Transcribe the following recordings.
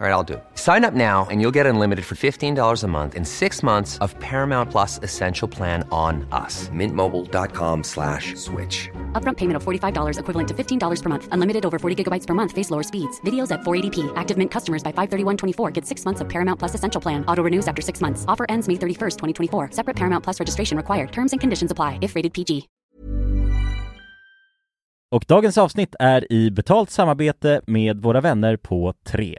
All right, I'll do it. Sign up now and you'll get unlimited for $15 a month in six months of Paramount Plus Essential Plan on us. Mintmobile.com slash switch. Upfront payment of $45 equivalent to $15 per month. Unlimited over 40 gigabytes per month. Face lower speeds. Videos at 480p. Active Mint customers by 531.24 get six months of Paramount Plus Essential Plan. Auto renews after six months. Offer ends May 31st, 2024. Separate Paramount Plus registration required. Terms and conditions apply if rated PG. Och dagens avsnitt är i betalt samarbete med våra vänner på 3.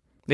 Det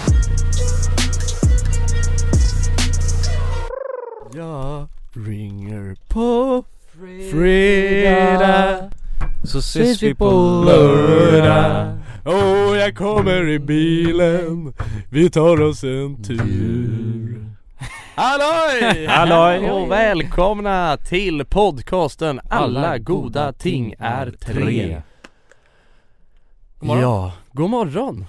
Ja, ringer på fredag Så ses vi på lördag Och Oh, jag kommer i bilen Vi tar oss en tur Halloj! Halloj! Och välkomna till podcasten Alla goda ting är tre God morgon. Ja, god morgon!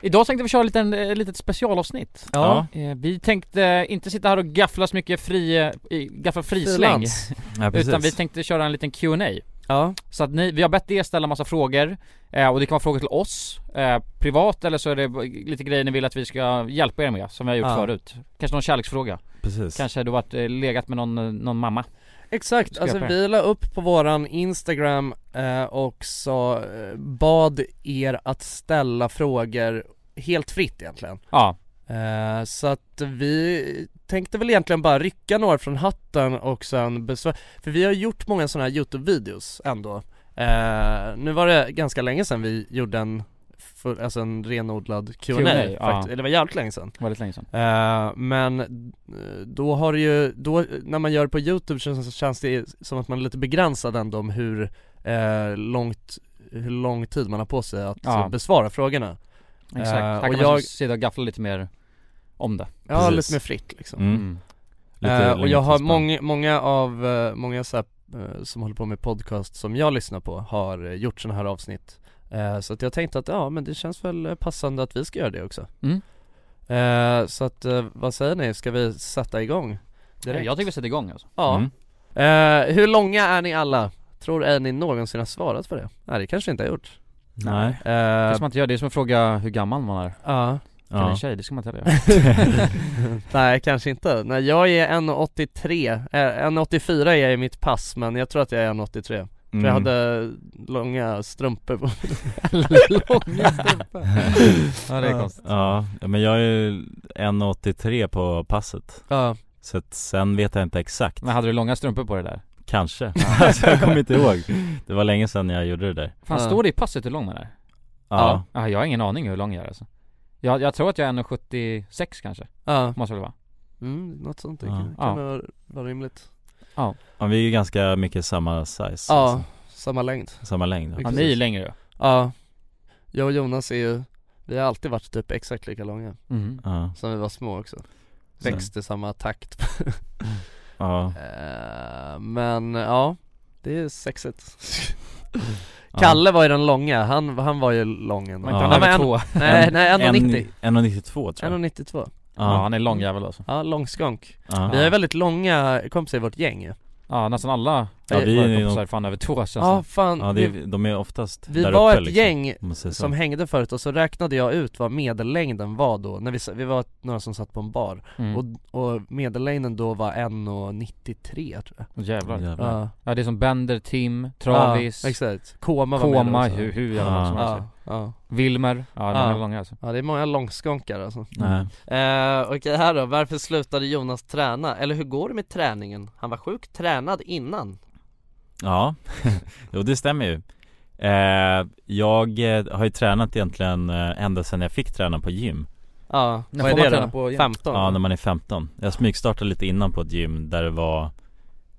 Idag tänkte vi köra lite, en, eh, litet specialavsnitt Ja. eh, Vi tänkte eh, inte sitta här och gaffla så mycket fri, eh, i- gaffla frisläng Frilans. Ja, Utan vi tänkte köra en liten Q&A Ja, Så att ni, vi har bett er ställa massa frågor eh, Och det kan vara frågor till oss eh, Privat eller så är det b- lite grejer ni vill att vi ska hjälpa er med Som vi har gjort Ja. förut Kanske någon kärleksfråga Precis. Kanske du har varit, eh, legat med någon, eh, någon mamma Exakt, Ska alltså jag- vi la upp på våran Instagram eh, och sa, eh, bad er att ställa frågor helt fritt egentligen Ja, eh, Så att vi tänkte väl egentligen bara rycka några från hatten och sen besvara För vi har gjort många sådana här Youtube-videos ändå Eh, nu var det ganska länge sedan vi gjorde en, för, alltså en renodlad Q&A, Q&A, faktiskt. ja. Eller det var jävligt länge sedan. Väldigt länge sedan. Eh, men eh, då har det ju, då, när man gör det på youtube så så känns det som att man är lite begränsad ändå om hur eh, långt, hur lång tid man har på sig att Ja. eh, besvara frågorna Exakt. Eh, Här och kan man jag- sitta och gaffla lite mer om det. Ja, Precis. lite mer fritt liksom Mm. Eh, och längre jag har tidsspann. många, många av, eh, många så här, eh, som håller på med podcast som jag lyssnar på har eh, gjort sådana här avsnitt Eh, Så att jag tänkte att ja men det känns väl eh, passande att vi ska göra det också Mm. Eh, Så att eh, vad säger ni, ska vi sätta igång? Direkt? Jag tycker vi sätter igång alltså. Ja Mm. Eh, Hur långa är ni alla? Tror är ni någonsin har svarat på det? Nej det kanske ni inte har gjort Nej. Eh, Det ska man inte göra, det är som att fråga hur gammal man är. Ja Kan ja. en Ja. tjej, det ska man inte heller göra. Nej kanske inte, nej jag är 1,83, eh, 1,84 är jag i mitt pass men jag tror att jag är 1,83 Mm. För jag hade långa strumpor på Långa strumpor. ja det är konstigt. Ja, men jag är ju 1,83 på passet. Ja, Så att sen vet jag inte exakt. Men hade du långa strumpor på dig där? Kanske. alltså jag kommer inte ihåg. Det var länge sedan jag gjorde det där. Fan Ja. står det i passet hur lång man är? Ja. Ja, jag har ingen aning hur lång jag är alltså. Jag, jag tror att jag är 1,76 kanske, ja, måste det vara. mm, något sånt Ja. kan, Ja. kan vara- vara rimligt ja. Vi är ju ganska mycket samma size. Ja, alltså. samma längd Samma längd. Ja, Precis. ni är längre Ja Jag och Jonas är ju, vi har alltid varit typ exakt lika långa ju. Mm. Ja. som vi var små också Så. Växte i samma takt Ja. Eh, Men ja, det är sexigt Ja. Kalle var ju den långa, han, han var ju lång ändå Men inte han Ja. var över en, två. nej, En- nej 1,90 1,92 tror jag. 1,92 Ja, Ja. han är lång jävel alltså. Ja, långskonk Ja. Vi har väldigt långa kompisar i vårt gäng ju Ja nästan alla Ja, vi är ju kompisar nog- fan över två alltså. känns Ja, ja. fan Ja, det är, de är oftast Vi där var uppe, ett liksom, gäng om man säger så. som hängde förut och så räknade jag ut vad medellängden var då, när vi, s- vi var några som satt på en bar mm. och, och medellängden då var 1,93 tror jag Och jävlar. Jävlar. Ja det är som Bender, Tim, Travis, Ja, exakt, Koma var med då Koma, också. hur, hur jävla lång som helst. ja, ja. Wilmer, ja, de Ja. är långa alltså. ja, det är många långskonkar alltså Nej. eh, Okej här då, varför slutade Jonas träna? Eller hur går det med träningen? Han var sjukt tränad innan Ja, jo det stämmer ju eh, Jag eh, har ju tränat egentligen eh, ända sedan jag fick träna på gym Ja, När vad får man är det träna då? på gym? 15? Ja, när man är 15 Jag smygstartade lite innan på ett gym där det var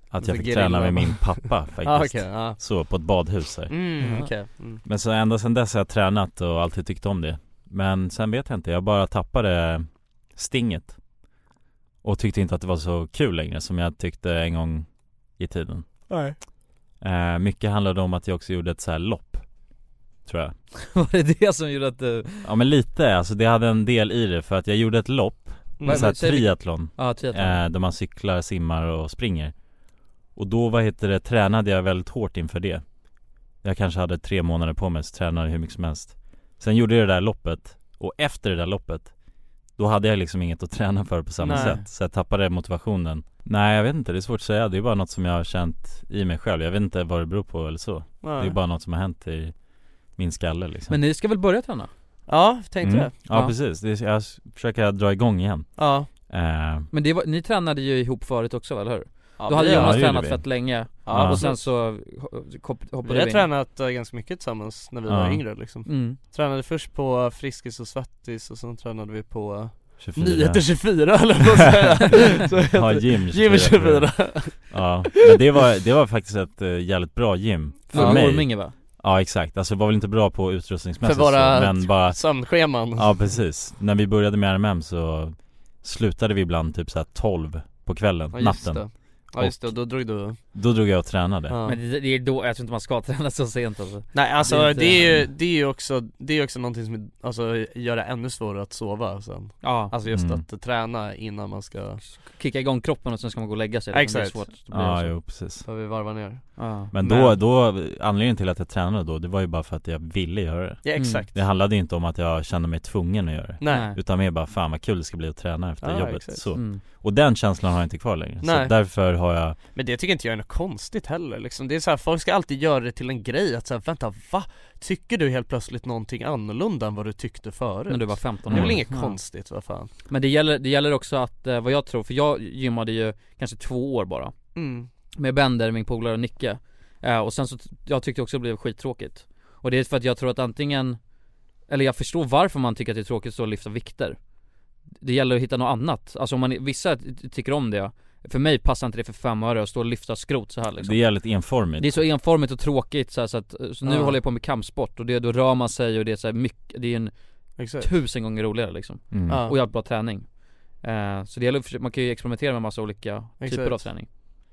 Att Lite jag fick gerilla. träna med min pappa faktiskt ah, okej, ja Så, på ett badhus här Mm, okej mm. Men så ända sedan dess har jag tränat och alltid tyckt om det Men sen vet jag inte, jag bara tappade stinget Och tyckte inte att det var så kul längre som jag tyckte en gång i tiden Nej eh, Mycket handlade om att jag också gjorde ett så här lopp Tror jag Var det det som gjorde att du... Ja men lite, alltså det hade en del i det för att jag gjorde ett lopp, Men- Mm. så här men säg vilket- triathlon, Ja, triathlon? eh, där man cyklar, simmar och springer Och då, vad heter det, tränade jag väldigt hårt inför det Jag kanske hade tre månader på mig, så tränade jag hur mycket som helst Sen gjorde jag det där loppet, och efter det där loppet Då hade jag liksom inget att träna för på samma Nej. sätt, så jag tappade motivationen Nej jag vet inte, det är svårt att säga, det är bara något som jag har känt i mig själv Jag vet inte vad det beror på eller så Mm. Det är bara något som har hänt i min skalle liksom Men ni ska väl börja träna? Ja, tänkte Mm. du? Ja, Ja. precis, det är, jag s- försöker dra igång igen Ja eh, Men det var, ni tränade ju ihop förut också eller hur? Ja, Då hade vi jag- har, Ja, Jonas det gjorde tränat vi. fett länge, Ja. och sen Mm. så ho- hop- hoppade vi har in. tränat eh, ganska mycket tillsammans när vi var Ja. yngre liksom Mm. Tränade först på Friskis och Svettis och sen tränade vi på 24 Nyheter 24 eller vad man säger Så heter Ja, det. gym 24, Gym tror 24 jag. Ja, men det var, det var faktiskt ett eh, jävligt bra gym för Ja. mig Orminge va? Ja exakt, alltså det var väl inte bra på utrustningsmässigt För våra- så, men bara Sömnscheman Ja precis, när vi började med RMM så slutade vi ibland typ såhär 12 på kvällen, Ja, just natten det Ja just det, då drog du Då drog jag och tränade ja. Men det, det är då, jag tror inte man ska träna så sent alltså Nej det är alltså inte- det är ju, det är ju också, det är ju också någonting som är- alltså, gör det ännu svårare att sova sen Ja, Alltså just Mm. att träna innan man ska, kicka igång kroppen och sen ska man gå och lägga sig Ja, liksom. exakt. Det är svårt, då blir Ja det så. jo precis behöver vi varva ner ja. Men då, Men- då, anledningen till att jag tränade då, det var ju bara för att jag ville göra det Ja Mm. exakt Det handlade ju inte om att jag kände mig tvungen att göra det Nej, Utan mer bara fan vad kul det ska bli att träna efter Ja, jobbet exakt. så. Mm. Och den känslan har jag inte kvar längre Nej. Så därför har jag Men det tycker inte jag är något konstigt heller liksom. Det är så här, folk ska alltid göra det till en grej att säga vänta va? Tycker du helt plötsligt någonting annorlunda än vad du tyckte förut? När du var 15 Det är väl Mm. inget Ja. konstigt vad fan? Men det gäller, det gäller också att, eh, vad jag tror, för jag gymmade ju kanske två år bara Mm. Med Bender, min polare och Nicke Eh, Eh, och sen så, t- jag tyckte också det blev skittråkigt. Och det är för att jag tror att antingen, eller jag förstår varför man tycker att det är tråkigt att stå och lyfta vikter. Det gäller att hitta något annat. Alltså om man, vissa ty- tycker om det. För mig passar inte det för fem öre att stå och lyfta skrot så här liksom. Det är jävligt enformigt Det är så enformigt och tråkigt så, här, så att, eh, så nu Ja. håller jag på med kampsport och det, då rör man sig och det är så här mycket, det är en Exakt. tusen gånger roligare liksom mm. Ja. Och jävligt bra träning Eh, Så det gäller att försöka- man kan ju experimentera med massa olika Exakt. typer av träning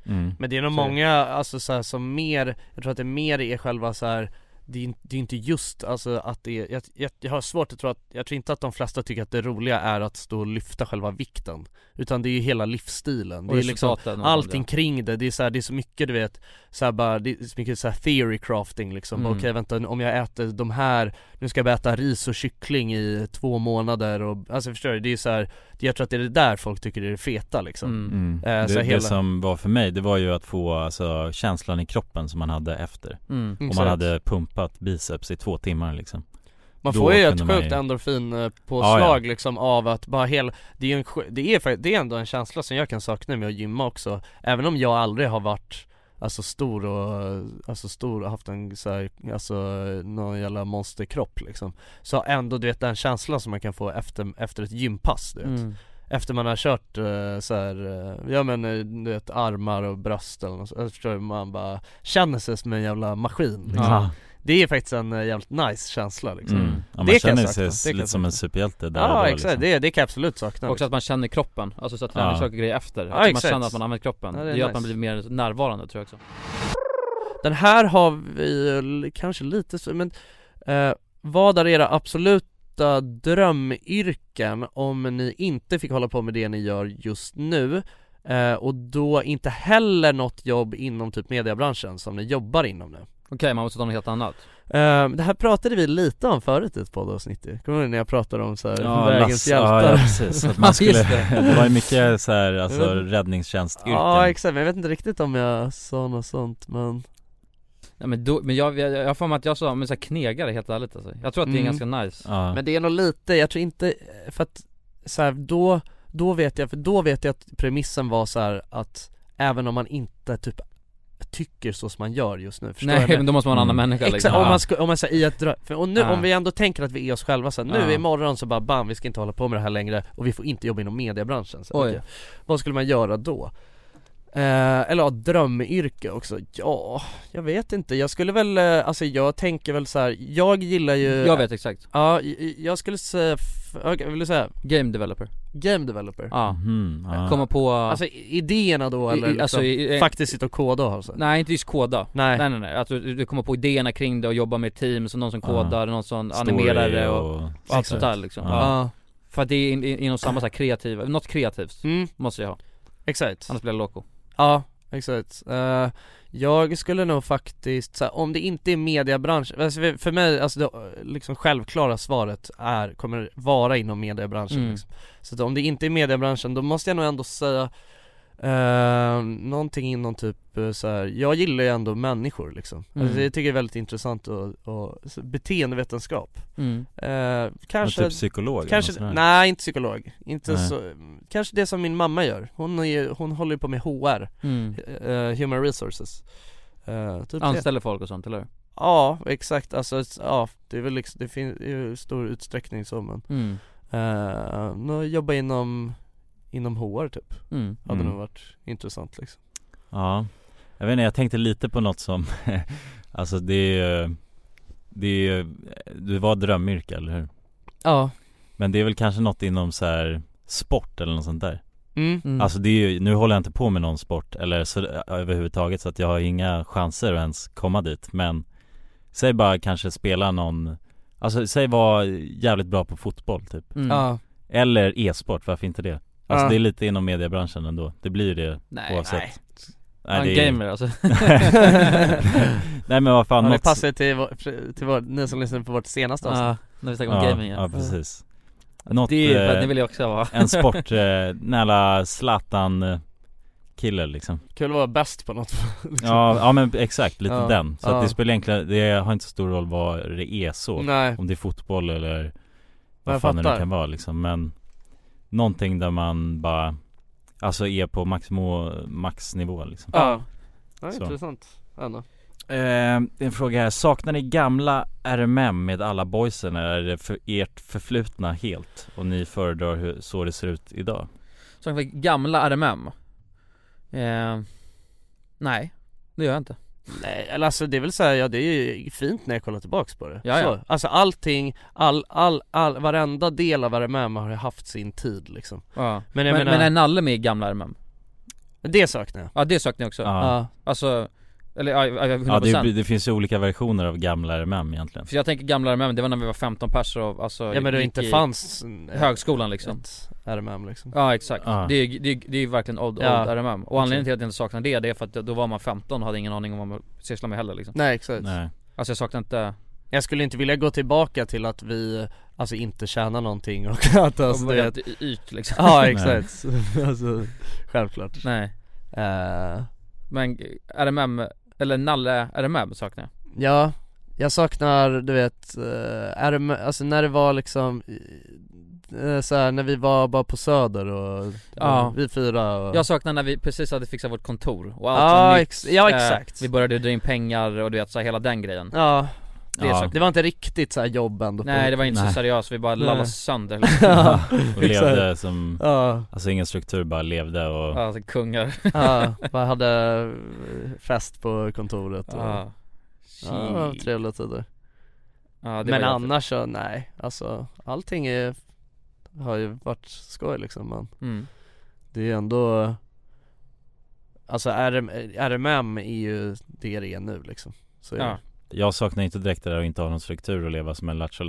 Mm. Men det är nog Så är det. många, alltså så här, som mer, jag tror att det mer är själva så här. Det är, in- det är inte just alltså att det är, jag, jag, jag har svårt att tro att, jag tror inte att de flesta tycker att det roliga är att stå och lyfta själva vikten Utan det är ju hela livsstilen, Och det är liksom resultaten och allting sånt, kring det, det är så här, det är så mycket du vet så här bara, det är så mycket så här theory crafting liksom, Mm. okej vänta nu- om jag äter de här, nu ska jag bara äta ris och kyckling i två månader och, alltså förstår du? Det är så här, det- jag tror att det är det där folk tycker det är det feta ja. liksom mm. Mm. Eh, det, så hela- det som var för mig, det var ju att få alltså, känslan i kroppen som man hade efter Mm. Om man hade pumpat biceps i två timmar liksom Man Då får ju ett kunde man sjukt ju- endorfinpåslag Ja, ja. liksom av att bara hela Det är ju en, sj- det är, fakt- det är ändå en känsla som jag kan sakna med att gymma också Även om jag aldrig har varit Alltså stor och, alltså stor och haft en så här, alltså någon jävla monsterkropp liksom Så ändå du vet den känslan som man kan få efter, efter ett gympass du vet Mm. Efter man har kört eh, så här, eh, ja men eh, du vet armar och bröst eller något så, förstår du, man bara känner sig som en jävla maskin liksom. Ja. Det är faktiskt en eh, jävligt nice känsla liksom mm. ja, Man Det kan känner jag sakna. Det sig kan lite jag som en superhjälte där och Ja då, exakt, liksom. det, det kan jag absolut sakna Också att man känner kroppen, alltså så att Ja. träningssaker och grejer efter, Ja, att man exakt. känner att man använder kroppen, Ja, det det, är gör att man nice. blir mer närvarande tror jag också liksom. Den här har vi l- kanske lite så, men eh, Vad är era absoluta drömyrken om ni inte fick hålla på med det ni gör just nu? Eh, och då inte heller något jobb inom typ mediebranschen som ni jobbar inom nu Okej, man måste ta något helt annat Eh, Det här pratade vi lite om förut i ett poddavsnitt ju. Kommer du ihåg när jag pratade om så här, Ja, vägens lass- hjältar? ja, ja precis, att Ja, man just skulle, det. det. var ju mycket så här, alltså Jag vet- räddningstjänstyrken ja exakt, men jag vet inte riktigt om jag sa något sånt men Ja, men, då, men jag, jag, jag har för mig att jag sa, men så här knegare helt ärligt alltså. Jag tror att det är Mm. ganska nice Ja. Men det är nog lite, jag tror inte, för att så här, då, då vet jag, för då vet jag att premissen var så här att även om man inte typ tycker så som man gör just nu, förstår Nej jag? men då måste man vara en annan Mm. människa Exakt, liksom. om Ja. man, ska, om man säger i ett drö- för, och nu Ja. om vi ändå tänker att vi är oss själva så här, nu Ja. imorgon så bara bam, vi ska inte hålla på med det här längre och vi får inte jobba inom mediebranschen så, Oj. okej. Vad skulle man göra då? Eh, eller ja, drömyrke också, ja, jag vet inte, jag skulle väl, eh, alltså jag tänker väl så här, jag gillar ju Jag vet exakt, Ja, j- j- jag skulle säga, f- okej, vill du säga game developer game developer? Ja, Mhm, ja. komma på Alltså i- idéerna då eller i- i- alltså, liksom, i- i- faktiskt sitta och koda och ha så? Nej inte just koda Nej. Nej nej nej, alltså, du du kommer på idéerna kring det och jobba med team, så någon som Ja. kodar, någon som Story animerar det och, och och allt sånt där liksom Ja. ja. För att det är in, in, inom samma så här kreativa, något kreativt Mm, måste jag ha, exakt annars blir jag loco Ja, exakt Eh, Jag skulle nog faktiskt, så här, om det inte är mediebranschen, alltså för- för mig, alltså det eh, liksom självklara svaret är, kommer vara inom mediebranschen Mm. liksom. Så att om det inte är mediebranschen, då måste jag nog ändå säga Uh, någonting inom typ eh, så här. jag gillar ju ändå människor liksom. Alltså, Mm. jag tycker det är väldigt intressant och, och så- beteendevetenskap. mm. Eh, Och kanske, Typ psykolog eller något kanske, sånt där. nej inte psykolog. Inte Nej. så, kanske det som min mamma gör. Hon, är, ju- hon håller ju på med HR, Mm. eh, human resources. Eh, typ det. Anställer folk och sånt eller hur? Ja, exakt. Alltså, s- ja, det är väl liksom, det finns i stor utsträckning så men. Mm. Eh, nå- jobba inom, inom HR typ. Mm. Hade Mm. nog varit intressant liksom. Ja Jag vet inte, jag tänkte lite på något som Alltså det är ju- Det är ju- Det var drömyrke eller hur? Ja. Men det är väl kanske något inom så här sport eller något sånt där Mm. Mm. Alltså det är ju, nu håller jag inte på med någon sport eller så överhuvudtaget så att jag har inga chanser att ens komma dit men Säg bara kanske spela någon Alltså säg vara jävligt bra på fotboll typ mm. Ja. Eller e-sport, varför inte det? Alltså Ja. det är lite inom mediebranschen ändå, det blir ju det Nej, oavsett nej. Nej, Han det är- gamer alltså Nej men vad Ja, fan, det något- passar ju till, vår- till vår, ni som lyssnar på vårt senaste avsnitt. Ja, när vi snackar om ja, gaming ja precis Något, Det är ju för eh, att det vill jag också vara en sport, eh, nära Zlatan eh, kille liksom Kul att vara bäst på något liksom. ja, ja men exakt, lite Ja, den Så ja. att det spelar egentligen, det har inte så stor roll vad det är så Nej, Om det är fotboll eller jag vad fan det nu fattar. kan vara liksom men Någonting där man bara Alltså är på maximo, maxnivå liksom ja, ja Så. intressant ändå Eh, det är en fråga här, saknar ni gamla RMM med alla boysen eller är det för ert förflutna helt och ni föredrar hur, så det ser ut idag? Som sagt, gamla RMM eh, Nej, det gör jag inte Nej, eller alltså det är väl så här, ja det är ju fint när jag kollar tillbaks på det. Ja, ja. Så, alltså allting, all, all, all, varenda del av RMM har ju haft sin tid liksom. ja. Men men, jag men, menar, är Nalle med i gamla RMM? det saknar jag. Ja det saknar jag också, Ja, Ja. alltså Eller ja, ja, ja, 100% ja det, det finns ju olika versioner av gamla RMM egentligen För jag tänker gamla RMM, det var när vi var 15 pers och alltså Ja men det gick inte i fanns en- högskolan liksom ett RMM liksom. Ja exakt, Ja. Det, är, ju- det, är, ju- det är ju verkligen old, old Ja, RMM Och anledningen till att jag inte saknar det, det är för att då var man 15 och hade ingen aning om vad man sysslade med heller liksom Nej exakt. Nej. Alltså jag saknar inte Jag skulle inte vilja gå tillbaka till att vi, alltså inte tjänar någonting och att alltså alltså, det helt y- yt liksom Ja exakt, alltså självklart. Nej, Eh, men RMM, eller Nalle RMM saknar jag Ja, jag saknar du vet, eh, RM, alltså när det var liksom eh, så här, när vi var bara på söder och Ja. och vi fyra och Jag saknar när vi precis hade fixat vårt kontor och allt Ja, var nytt ex- ja, Eh, exakt. Vi började dra in pengar och du vet så här, hela den grejen Ja, det, Ja. ja. det var inte riktigt så här jobb ändå på- Nej det var inte Nej. så seriöst, vi bara Nej. lallade sönder liksom. Ja, Och exakt. levde som, Ja, alltså ingen struktur, bara levde och Alltså kungar ja, bara hade eh, fest på kontoret och, ja. Ja, det var trevliga tider ja, det var Men jävligt. annars så, nej, alltså allting är, har ju varit skoj liksom men mm. Det är ju ändå Alltså RM, RMM är ju det det är nu liksom Så är Ja. det. Jag saknar inte direkt det där att inte ha någon struktur och leva som en Lattjo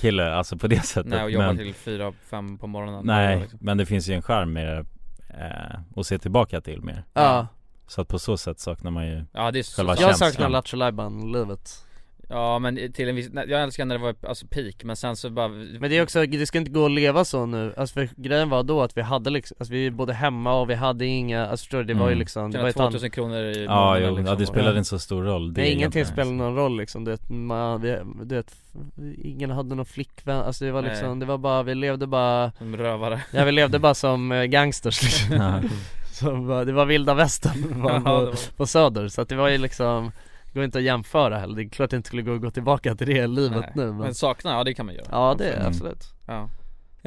kille alltså på det sättet Nej och jobba men, till fyra, fem på morgonen Nej, liksom. men det finns ju en charm med det eh, att se tillbaka till mer ja. Så att på så sätt saknar man ju Ja det är så, Själva jag Jag känslan. saknar Lattjo livet Ja men till en viss, nej, jag älskar när det var alltså peak men sen så bara Men det är också, det ska inte gå att leva så nu Alltså för grejen var då att vi hade liksom, alltså vi bodde hemma och vi hade inga, alltså förstår du, det var ju Mm. liksom det var tjäna ett annat 2000 kronor i Ja, månaden, liksom. jo, ja det och- spelade inte så stor roll det Nej ingenting egentligen. spelade någon roll liksom, du vet, man, vi, du vet Ingen hade någon flickvän, alltså det var Nej. liksom, det var bara, vi levde bara Som rövare Ja vi levde bara som eh, gangsters liksom. Ja. som, bara- Det var vilda västern Ja, man, det på, var- på söder så att det var ju liksom det Går inte att jämföra heller, det är klart det inte skulle gå att gå tillbaka till det livet nej. nu men, Men sakna, ja det kan man göra Ja det är Mm. absolut ja.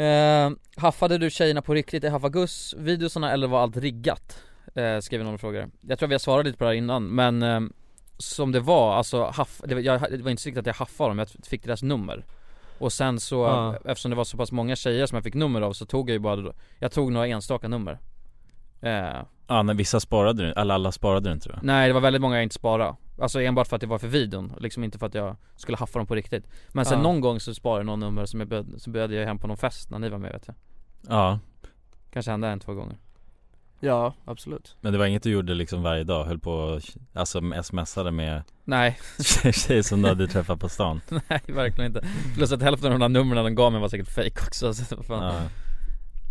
Eh, haffade du tjejerna på riktigt i Haffagus videosarna eller var allt riggat? Eh, skriver någon och frågar Jag tror vi har svarat lite på det här innan men eh, Som det var, alltså haff, det var, jag, det var inte så riktigt att jag haffade dem, jag fick deras nummer Och sen så, Ja. eftersom det var så pass många tjejer som jag fick nummer av så tog jag ju bara, jag tog några enstaka nummer eh, Ja, men vissa sparade du, eller alla sparade du inte va? Nej det var väldigt många jag inte sparade Alltså enbart för att det var för videon, liksom inte för att jag skulle haffa dem på riktigt Men sen Ja. någon gång så sparade jag någon nummer som jag bjöd, så bjöd jag hem på någon fest när ni var med vet jag Ja, Kanske hände en, två gånger Ja absolut men det var inget du gjorde liksom varje dag, höll på och, alltså smsade med Nej, tjejer som du hade träffat på stan nej verkligen inte Plus att hälften av de där numren de gav mig var säkert fake också så, vad fan. ja.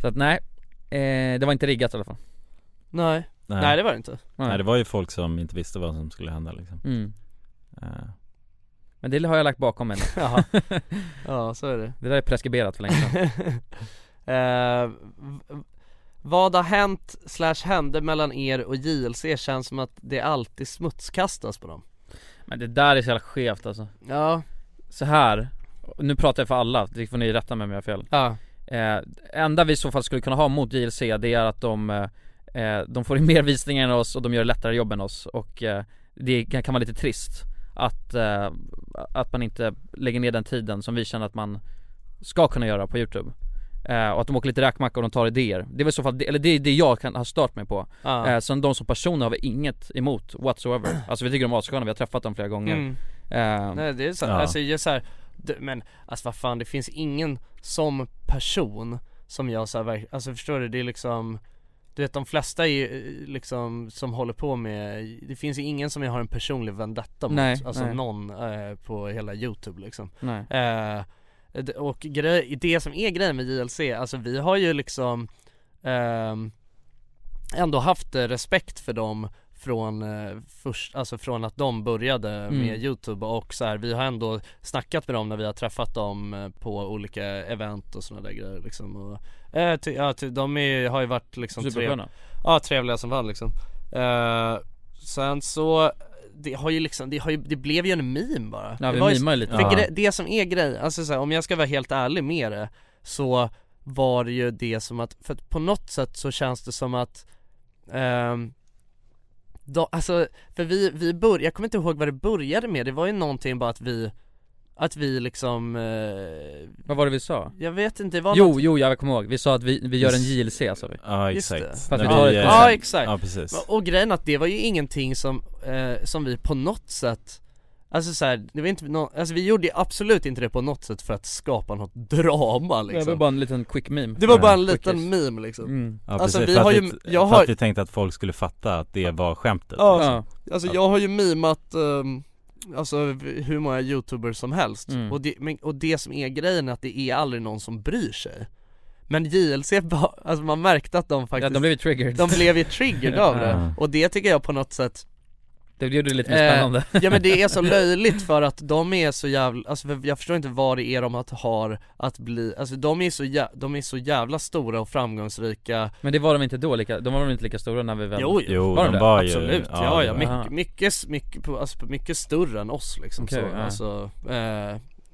så att nej, eh, det var inte riggat i alla fall Nej, Nej, nej, det var det inte Nej, det var ju folk som inte visste vad som skulle hända liksom mm. Eh, Men det har jag lagt bakom mig nu. Ja, ja så är det Det där är preskriberat för länge sedan Eh, v- Vad har hänt slash hände mellan er och JLC känns som att det alltid smutskastas på dem Men det där är så jävla skevt alltså Ja, Så här nu pratar jag för alla, det får ni rätta mig om jag har fel ja, Eh, enda vi i så fall skulle kunna ha mot JLC det är att de, eh, eh, de får in mer visningar än oss och de gör lättare jobb än oss och eh, det kan kan vara lite trist att, eh, att man inte lägger ner den tiden som vi känner att man ska kunna göra på Youtube. Eh, och att de åker lite räkmacka och de tar idéer. Det är väl i så fall, det- eller det är det jag kan ha stört mig på. ja. Eh, sen de som personer har vi inget emot whatsoever. Alltså vi tycker de är assköna, vi har träffat dem flera gånger. Mm. Eh, Nej det är så, Ja. alltså jag så här, d- men alltså vad fan det finns ingen som person som jag så här, verk- alltså förstår du det är liksom Du vet de flesta är ju eh, liksom som håller på med, det finns ju ingen som jag har en personlig vendetta mot, Nej, alltså nej. någon eh, på hela youtube liksom nej. Eh, d- och grej, det som är grejen med JLC, alltså vi har ju liksom ehm, ändå haft eh, respekt för dem från, eh, först, alltså från att de började Mm. med Youtube och så här, vi har ändå snackat med dem när vi har träffat dem eh, på olika event och sådana där grejer liksom och, eh, ty, ja, ty, de är, har ju varit liksom Supersköna. Ja trevliga som fan liksom eh, Sen så det har ju liksom, det, har ju, det blev ju en meme bara Ja, det vi var ju- mimar ju lite För gre- det som är grej, alltså så här, om jag ska vara helt ärlig med det Så var det ju det som att, för att på något sätt så känns det som att ehm, då, Alltså, för vi, vi började, jag kommer inte ihåg vad det började med, det var ju någonting bara att vi Att vi liksom, eh, Vad var det vi sa? jag vet inte, det var något, Jo, jo jag kommer ihåg, vi sa att vi, vi gör en JLC sa vi Ja Just exakt det. Fast vi När tar ett eh, ja exakt Ja precis Och grejen att det var ju ingenting som, eh, som vi på något sätt Alltså så här, det var inte nå alltså vi gjorde ju absolut inte det på något sätt för att skapa något drama Det var liksom bara en liten quick meme Det var bara en Quick liten is. meme liksom mm. Ja, Alltså, precis, vi för har att ju- vi, jag För har- att vi tänkte att folk skulle fatta att det var skämtet Ja. Ja, Alltså jag har ju mimat, ehm, alltså v- hur många youtubers som helst Mm. och, det, men, och det som är grejen är att det är aldrig någon som bryr sig Men JLC, bara- alltså man märkte att de ja faktiskt, de blev ju triggered de blev ju triggered av det Ja. och det tycker jag på något sätt Det gjorde det lite Eh, mer spännande Ja men det är så löjligt för att de är så jävla, alltså för jag förstår inte vad det är de att har att bli, alltså de är så jävla, de är så jävla stora och framgångsrika Men det var de inte då, lika, de var de inte lika stora när vi väl Jo, Var de de det? var ju absolut, ja ja, det var- mycket, mycket- mycket, mycket, på- alltså, mycket större än oss liksom Okej, så, ja. alltså,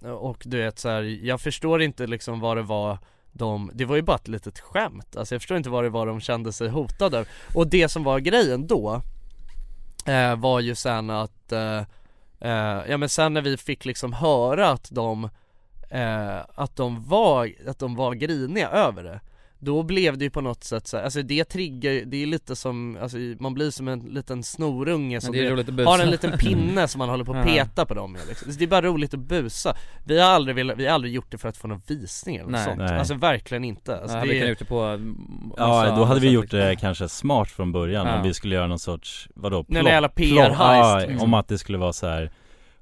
eh, och du vet så här, jag förstår inte liksom vad det var de, det var ju bara ett litet skämt, alltså jag förstår inte vad det var de kände sig hotade av. Och det som var grejen då eh, var ju sen att, eh, eh, ja men sen när vi fick liksom höra att de, eh, att de var, att de var griniga över det då blev det ju på något sätt så här, alltså det triggar det är lite som, alltså man blir som en liten snorunge Men som det är du- roligt att busa har en liten pinne som man håller på att Ja. peta på dem med liksom. Så det är bara roligt att busa Vi har aldrig, velat, vi har aldrig gjort det för att få någon visning eller något Nej. sånt, Nej. alltså verkligen inte alltså, ja, det vi kan är, ha gjort det på mm, massa Alltså, Ja, då hade andra vi sätt, gjort liksom. det kanske smart från början Ja. om vi skulle göra någon sorts, vadå? Någon plott- jävla plott- PR-heist, ja, liksom. Om att det skulle vara så här.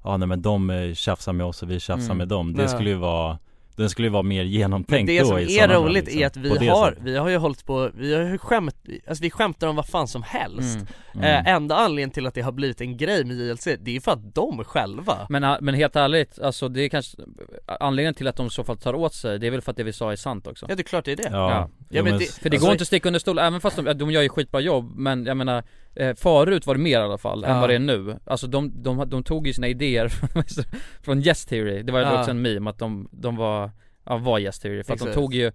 ja nej men de eh, tjafsar med oss och vi tjafsar Mm. med dem Det Nej. skulle ju vara, den skulle ju vara mer genomtänkt det då som i är sådana fall, roligt liksom. är att På det vi har, sättet. vi har ju hållit på, vi har ju skämt, alltså vi skämtar om vad fan som helst Mm. Mm. eh, Enda anledningen till att det har blivit en grej med JLC, det är ju för att de själva Men, ah, men helt ärligt, alltså det är kanske Anledningen till att de i så fall tar åt sig, det är väl för att det vi sa är sant också Ja det är klart det är det Ja, Ja. Jo, Ja, men men det- s- För det Alltså- går inte att sticka under stol, även fast de, ja, de gör ju skitbra jobb Men jag menar, eh, förut var det mer i alla fall Ja. än vad det är nu Alltså de, de, de tog ju sina idéer från Yes Theory Det var ju Ja. också en meme att de, de var, ja, var Yes Theory För att Exakt. de tog ju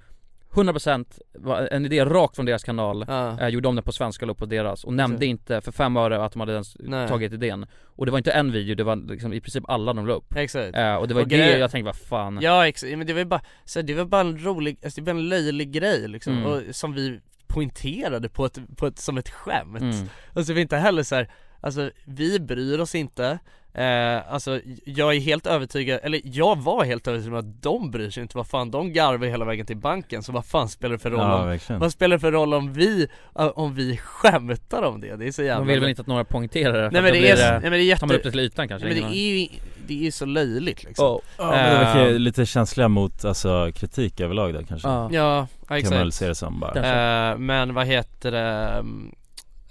100% var en idé rakt från deras kanal Ja. eh, Gjorde om den på svenska och la upp på deras och Exakt. nämnde inte för fem öre att de hade ens Nej. tagit idén Och det var inte en video, det var liksom i princip alla de la upp Exakt eh, Och det var Och det grejen- jag tänkte, vad fan Ja exakt, men det var ju bara, så här, det var bara en rolig, alltså det var en löjlig grej liksom, Mm. och, som vi poängterade på ett, på ett, som ett skämt Mm. Alltså vi är inte heller så här, alltså vi bryr oss inte Eh, alltså jag är helt övertygad, eller jag var helt övertygad om att de bryr sig inte, vad fan de garvar hela vägen till banken så vad fan spelar det för roll ja om, verkligen vad spelar det för roll om vi, eh, om vi skämtar om det? Det är så jävla De vill väl inte att några poängterar det, för Nej att men då det blir eh, är, nej men det är Tar man upp jätte, det till ytan kanske? nej, men det ingen aning. är ju, det är ju så löjligt liksom Ja, ja, men det verkar ju Ehm. lite känsliga mot, alltså kritik överlag då kanske ja. Ja, ja Kan man väl exakt se det som bara Kanske. Eh, men vad heter det, mm,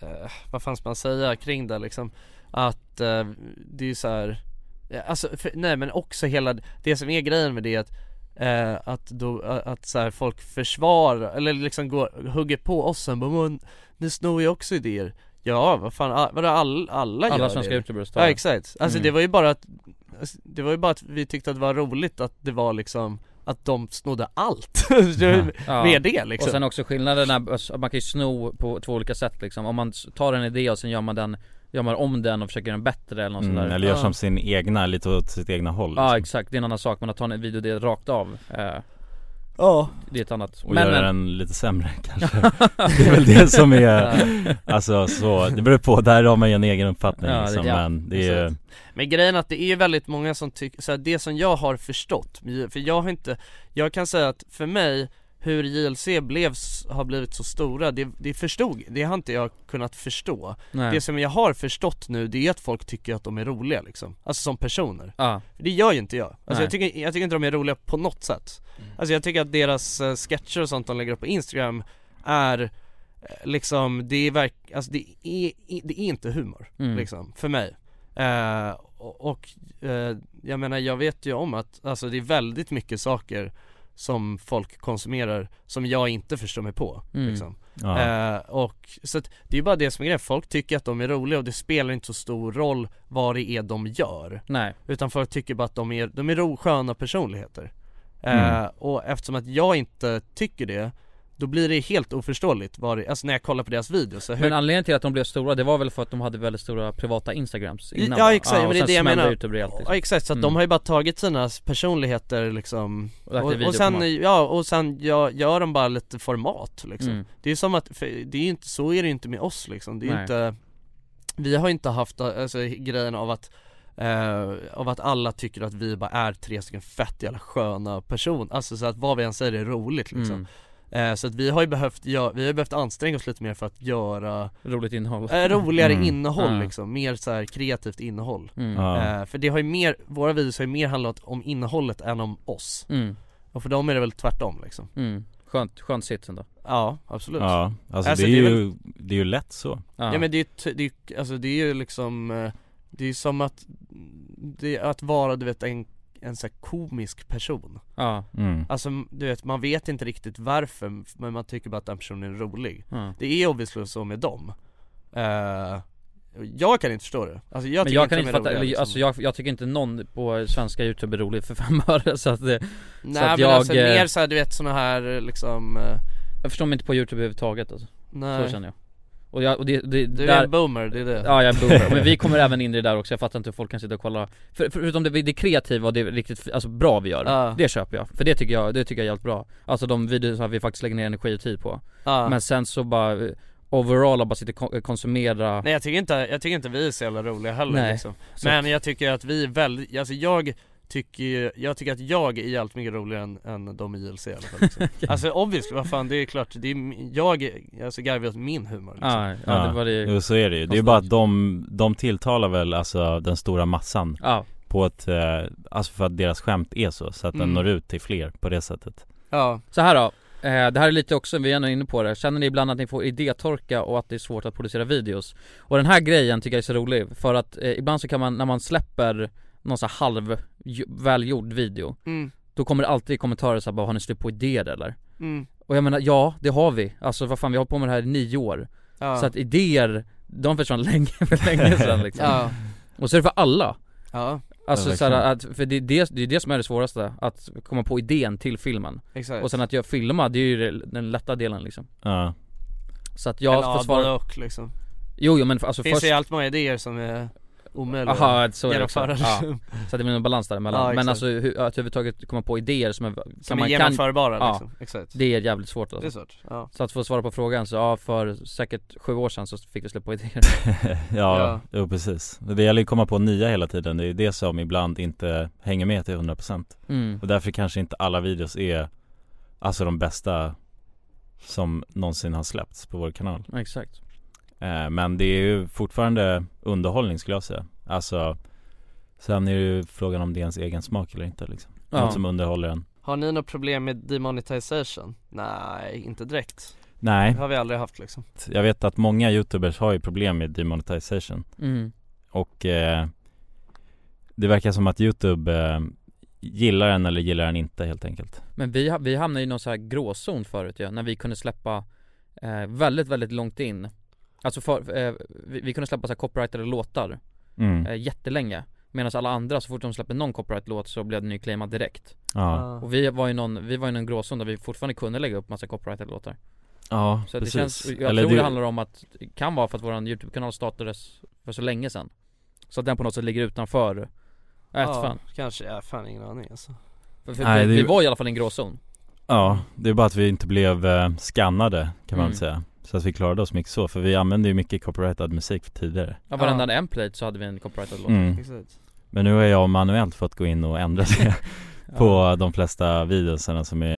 eh, vad fan ska man säga kring det liksom? Att eh, det är ju så här, ja, alltså, för, nej men också hela, det som är grejen med det är att Eh, att då, att så här, folk försvarar, eller liksom går, hugger på oss sen bara "Men, ni snor ju också idéer Ja vad fan, a- vadå all, alla, Alla gör svenska det youtubers tar Ja det. exakt, alltså Mm. det var ju bara att alltså, Det var ju bara att vi tyckte att det var roligt att det var liksom Att de snodde allt, med Ja. det liksom Och sen också skillnaden är, alltså, man kan ju sno på två olika sätt liksom Om man s- tar en idé och sen gör man den Gör man om den och försöker göra den bättre eller något mm, sånt där Eller gör Ja. som sin egna, lite åt sitt egna håll liksom. Ja exakt, det är en annan sak, men att ta en video det rakt av eh, Ja Det är ett annat Och göra den lite sämre kanske Det är väl det som är, alltså så, det beror på, där har man ju en egen uppfattning Ja, det- liksom, ja, men det är ju, Men grejen är att det är ju väldigt många som tycker, så här, det som jag har förstått, för jag har inte, jag kan säga att för mig hur JLC blev, har blivit så stora, det, det förstod, det har inte jag kunnat förstå Nej. Det som jag har förstått nu det är att folk tycker att de är roliga liksom, alltså som personer Ja, För det gör ju inte jag, alltså Nej. Mm. jag tycker, jag tycker inte de är roliga på något sätt Alltså jag tycker att deras eh, sketcher och sånt de lägger upp på Instagram är eh, liksom, det är verk, alltså det är, i- det är inte humor Mm. liksom, för mig Eh, och, och eh, jag menar jag vet ju om att, alltså det är väldigt mycket saker som folk konsumerar som jag inte förstår mig på Mm. liksom. Ja. Eh, och så att det är ju bara det som är grejen, folk tycker att de är roliga och det spelar inte så stor roll vad det är de gör Nej, Utan folk tycker bara att de är, de är ro, sköna personligheter Mm. eh, Och eftersom att jag inte tycker det Då blir det helt oförståeligt vad det, alltså när jag kollar på deras videos så hur, men anledningen till att de blev stora det var väl för att de hade väldigt stora privata instagrams innan Ja, va? exakt, men och det är sen det jag smällde menar. ut det rejält Ja liksom. exakt, så att de Mm. har ju bara tagit sina personligheter liksom Och lagt i Och, video och på sen, ja och sen gör, gör de bara lite format liksom Mm. Det är som att, för det är ju inte, så är det ju inte med oss liksom, det är ju Nej. inte Vi har ju inte haft alltså, grejen av att eh, av att alla tycker att vi bara är tre stycken fett jävla sköna personer, alltså så att vad vi än säger är roligt liksom mm. eh, Så att vi har ju behövt, gö- vi har ju behövt anstränga oss lite mer för att göra Roligt innehåll eh, roligare Mm. innehåll Ja. liksom, mer så här kreativt innehåll mm. Ja. Eh, För det har ju mer, våra videos har ju mer handlat om innehållet än om oss Mm. och för dem är det väl tvärtom liksom Mm. Skönt, skönt sits ändå Ja, absolut ja. Ja, alltså, Alltså, det, är det är ju, det är ju lätt så men det är ju, t- det är, ju- alltså det är ju liksom eh, Det är ju som att Det är att vara du vet en, en så här komisk person ja. mm. Alltså du vet, man vet inte riktigt varför Men man tycker bara att den personen är rolig Ja. Det är obviously så med dem Eh, Jag kan inte förstå det Alltså jag Men tycker jag kan de inte är fatta, roliga, eller, liksom. alltså jag, jag tycker inte någon på svenska youtube är rolig för fem öre så att det, Nej så att men alltså jag, eh, mer såhär du vet såna här liksom eh, Jag förstår mig inte på youtube överhuvudtaget alltså. så Nej känner jag Och, jag, och det, det, Du är där, en boomer, det är det Ja jag är boomer, men vi kommer även in i det där också, jag fattar inte hur folk kan sitta och kolla för, Förutom det, det kreativa och det riktigt, alltså bra vi gör Ja. Det köper jag, för det tycker jag, det tycker jag är helt bra Alltså de videorna vi faktiskt lägger ner energi och tid på Ja. Men sen så bara, eh, overall och bara sitter och kon- eh, konsumera Nej jag tycker inte, jag tycker inte vi är så jävla roliga heller Nej. liksom. Så Men att- jag tycker att vi är väldigt, alltså jag tycker ju- jag tycker att jag är allt mycket roligare än, än de i JLC i alla fall liksom. Alltså obviously, vad fan det är klart, det är, m- jag, alltså garvar åt min humor liksom. ja, ja, det var det Jo så är det ju, det är ju bara att de, de tilltalar väl alltså den stora massan Ja, på ett, eh, alltså för att deras skämt är så, så att Mm. den når ut till fler på det sättet Ja, så här då eh, det här är lite också, vi är ändå inne på det, känner ni ibland att ni får idétorka och att det är svårt att producera videos? Och den här grejen tycker jag är så rolig, för att eh, ibland så kan man, när man släpper någon så här halv, välgjord video mm, Då kommer det alltid kommentarer såhär bara, har ni slut på idéer eller? mm, Och jag menar, ja det har vi, alltså vad fan vi har hållit på med det här i nio år ja, Så att idéer, de försvann länge, för länge sedan liksom ja, Och så är det för alla ja, Alltså Ja, såhär, att, verkligen. för det är det, det är det som är det svåraste, att komma på idén till filmen exakt Och sen att jag filmar, det är ju det- den lätta delen liksom Ja, Så att jag Eller, får ja, svara, både och liksom jo, jo men för- alltså Det finns ju först allt många idéer som är omöjliga att Aha, så är det också. genomföra Ja, liksom. så att det blir en balans däremellan, Ja, men exakt. alltså hur, att överhuvudtaget komma på idéer som, är, kan Som är man kan, genomförbara ja. liksom, exakt det är jävligt svårt Det är alltså. svårt, ja Så att få svara på frågan så, ja för säkert sju år sedan så fick du släppa på idéer ja, Ja. Jo, precis Det gäller ju att komma på nya hela tiden, det är ju det som ibland inte hänger med till 100% Mm. Och därför kanske inte alla videos är, alltså de bästa som någonsin har släppts på vår kanal Exakt. Eh, Men det är ju fortfarande underhållning skulle jag säga Alltså Sen är det ju frågan om det är ens egen smak eller inte liksom Ja. Något som underhåller en Har ni något problem med demonetization? Nej, inte direkt Det Nej, har vi aldrig haft liksom jag vet att många youtubers har ju problem med demonetization Mm. Och eh, Det verkar som att youtube eh, Gillar den eller gillar den inte helt enkelt Men vi, ha- vi hamnade i någon så här gråzon förut ju, ja, när vi kunde släppa eh, väldigt, väldigt långt in Alltså för, eh, vi, vi kunde släppa så här copyrightade låtar mm. eh, jättelänge Medan alla andra, så fort de släppte någon copyright-låt så blev den ju claimad direkt Ja, Ah. Och vi var ju någon, vi var ju någon gråzon där vi fortfarande kunde lägga upp massa copyrightade låtar ja Så precis det känns, jag Eller tror det handlar om att, det kan vara för att våran YouTube-kanal startades för så länge sedan Så att den på något sätt ligger utanför, äh, Ja, fan Kanske, ja, fan ingen aning alltså. för, för, Nej, vi, det- vi var i alla fall i en gråzon Ja, det är bara att vi inte blev eh, skannade kan man Mm. säga Så att vi klarade oss mycket så, för vi använde ju mycket copyrightad musik tidigare Ja varenda en plate så hade vi en copyrightad låt mm. Exakt. Men nu har jag manuellt fått gå in och ändra det på de flesta videorna som är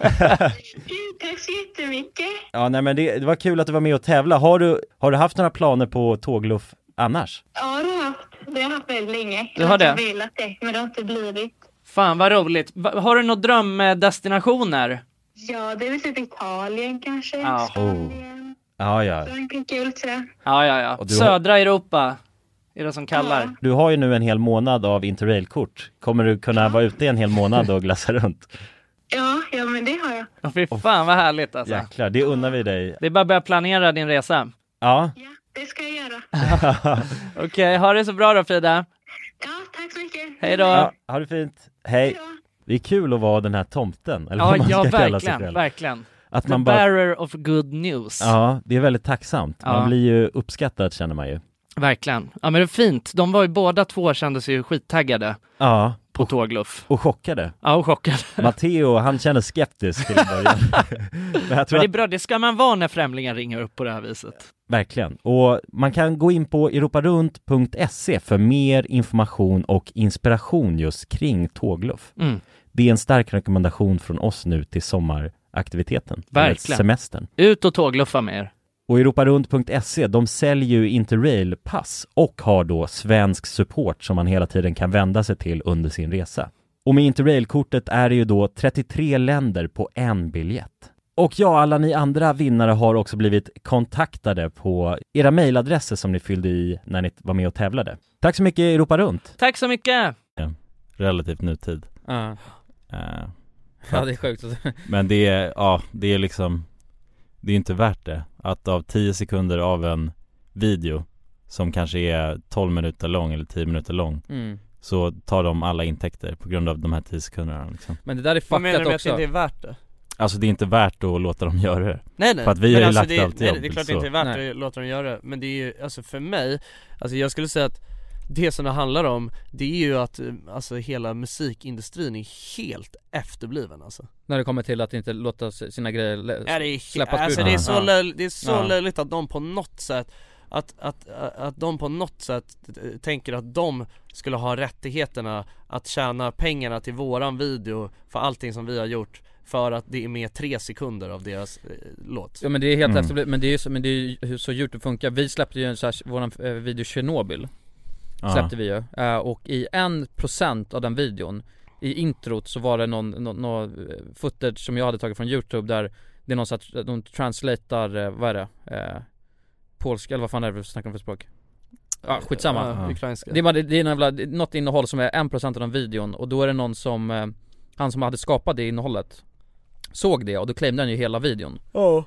Tack så jättemycket. Ja, nej men det, det var kul att du var med och tävla. Har du, har du haft några planer på tågluff annars? Ja, det har jag haft. Det har jag haft väldigt länge. Du har det? Jag har velat det, men det har inte blivit. Fan vad roligt. Va- Har du några drömdestinationer? Ja, det är väl typ Italien kanske. Ja. Spanien. Ja, ja. Frankrike, kul tror jag. Ja, ja, ja. du har- Södra Europa är det som kallar. Du har ju nu en hel månad av interrailkort. Kommer du kunna vara ute en hel månad och glassa runt? Ja, ja, men det har jag. Ja. Fy fan vad härligt alltså. Jäklar, det unnar vi dig. Det är bara att börja planera din resa. Ja, Ja, det ska jag göra. Okej, ha det så bra då Frida. Ja, tack så mycket. Hej då. ja ha det fint. Hej. Det är kul att vara den här tomten, eller Ja, vad man ska ja kalla sig verkligen, själv. verkligen. Att The man bara, bearer of good news. ja, det är väldigt tacksamt. Man Ja. blir ju uppskattad känner man ju. Verkligen. Ja men det är fint. De var ju båda två kände sig ju skittaggade Ja, på tågluff. Och chockade. Ja, och chockad. Matteo, han känner skeptisk till en början. Men jag tror Men det är att, bra, det ska man vara när främlingar ringer upp på det här viset. verkligen. Och man kan gå in på europarunt.se E för mer information och inspiration just kring tågluff. Mm. Det är en stark rekommendation från oss nu till sommaraktiviteten. eller Verkligen. Semestern. Ut och tågluffa med er. Och europarunt.se, E, de säljer ju Interrail-pass och har då svensk support som man hela tiden kan vända sig till under sin resa. Och med Interrail-kortet är det ju då 33 länder på en biljett. Och ja, alla ni andra vinnare har också blivit kontaktade på era mejladresser som ni fyllde i när ni var med och tävlade. Tack så mycket Europa Runt! Tack så mycket! Relativt nutid. Ja, Eh, ja det är sjukt Men det är, ja, det är liksom Det är inte värt det att av 10 sekunder av en video Som kanske är 12 minuter lång eller 10 minuter lång mm. Så tar de alla intäkter på grund av de här 10 sekunderna liksom. Men det där är fuckat också är värt det? Alltså det är inte värt att låta dem göra det Nej nej, alltså, För att vi har ju lagt det, är- allt nej, jobb, det är klart så. det inte är värt Nej. att låta dem göra det, men det är ju, alltså för mig, alltså jag skulle säga att det som det handlar om, det är ju att eh, alltså hela musikindustrin är helt efterbliven alltså När det kommer till att inte låta s- sina grejer lä- Ja, det, är, släppas alltså, ut. det är så, Ja. löjligt, det är så Ja. löjligt att de på något sätt att, att, att de på något sätt eh, tänker att de skulle ha rättigheterna att tjäna pengarna till våran video för allting som vi har gjort för att det är med tre sekunder av deras eh, låt Ja men det är helt Mm. efterblivet, men det är ju så, men det är ju hur så Youtube funkar, vi släppte ju en så här, våran eh, video Tjernobyl Ja. Släppte vi ju, Eh, och i en procent av den videon I introt så var det någon, någon, någon eh, footage som jag hade tagit från Youtube där Det är någon sorts, de translatar, eh, vad är det? Eh, polska, eller vad fan är det vi snackar om för språk? Ja skitsamma Ja, ukrainska Det är, bara, det är någon jävla, det är något innehåll som är 1% av den videon och då är det någon som, eh, han som hade skapat det innehållet Såg det och då claimade han ju hela videon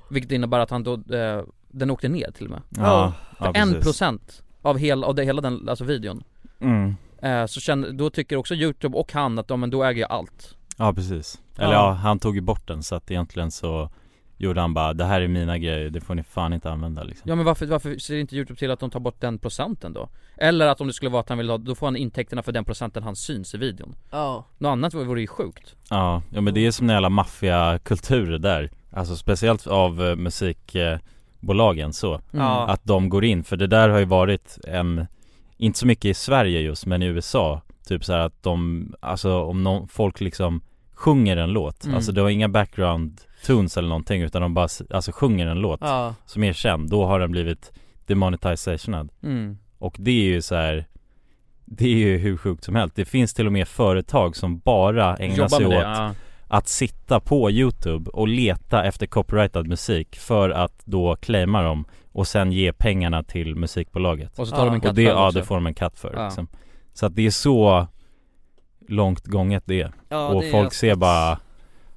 Vilket innebär att han då, eh, den åkte ner till och med Ja, ja En precis. procent av, hel, av det, hela den, alltså videon mm. eh, Så känner, då tycker också youtube och han att ja, men då äger jag allt Ja precis, eller ja. Ja. han tog ju bort den så att egentligen så Gjorde han bara, det här är mina grejer, det får ni fan inte använda liksom Ja men varför, varför ser inte youtube till att de tar bort den procenten då? Eller att om det skulle vara att han vill ha, då får han intäkterna för den procenten han syns i videon Ja, Något annat vore ju sjukt Ja, ja men det är som den jävla maffiakultur där Alltså speciellt av eh, musikbolagen så Ja. Att de går in, för det där har ju varit en Inte så mycket i Sverige just, men i USA Typ så här att de, alltså om någon, folk liksom sjunger en låt Mm. Alltså det har inga background tunes eller någonting utan de bara s- alltså sjunger en låt ja, som är känd, då har den blivit demonetisationad Mm. och det är ju så här Det är ju hur sjukt som helst. Det finns till och med företag som bara ägnar Jobba sig med åt det, ja. att sitta på Youtube och leta efter copyrightad musik för att då claima dem och sen ge pengarna till musikbolaget. Och så tar de en Och katt det, själv ja, också. det får de en katt för Ja. liksom. Så att det är så långt gånget det är. ja och det är folk alltså- ser bara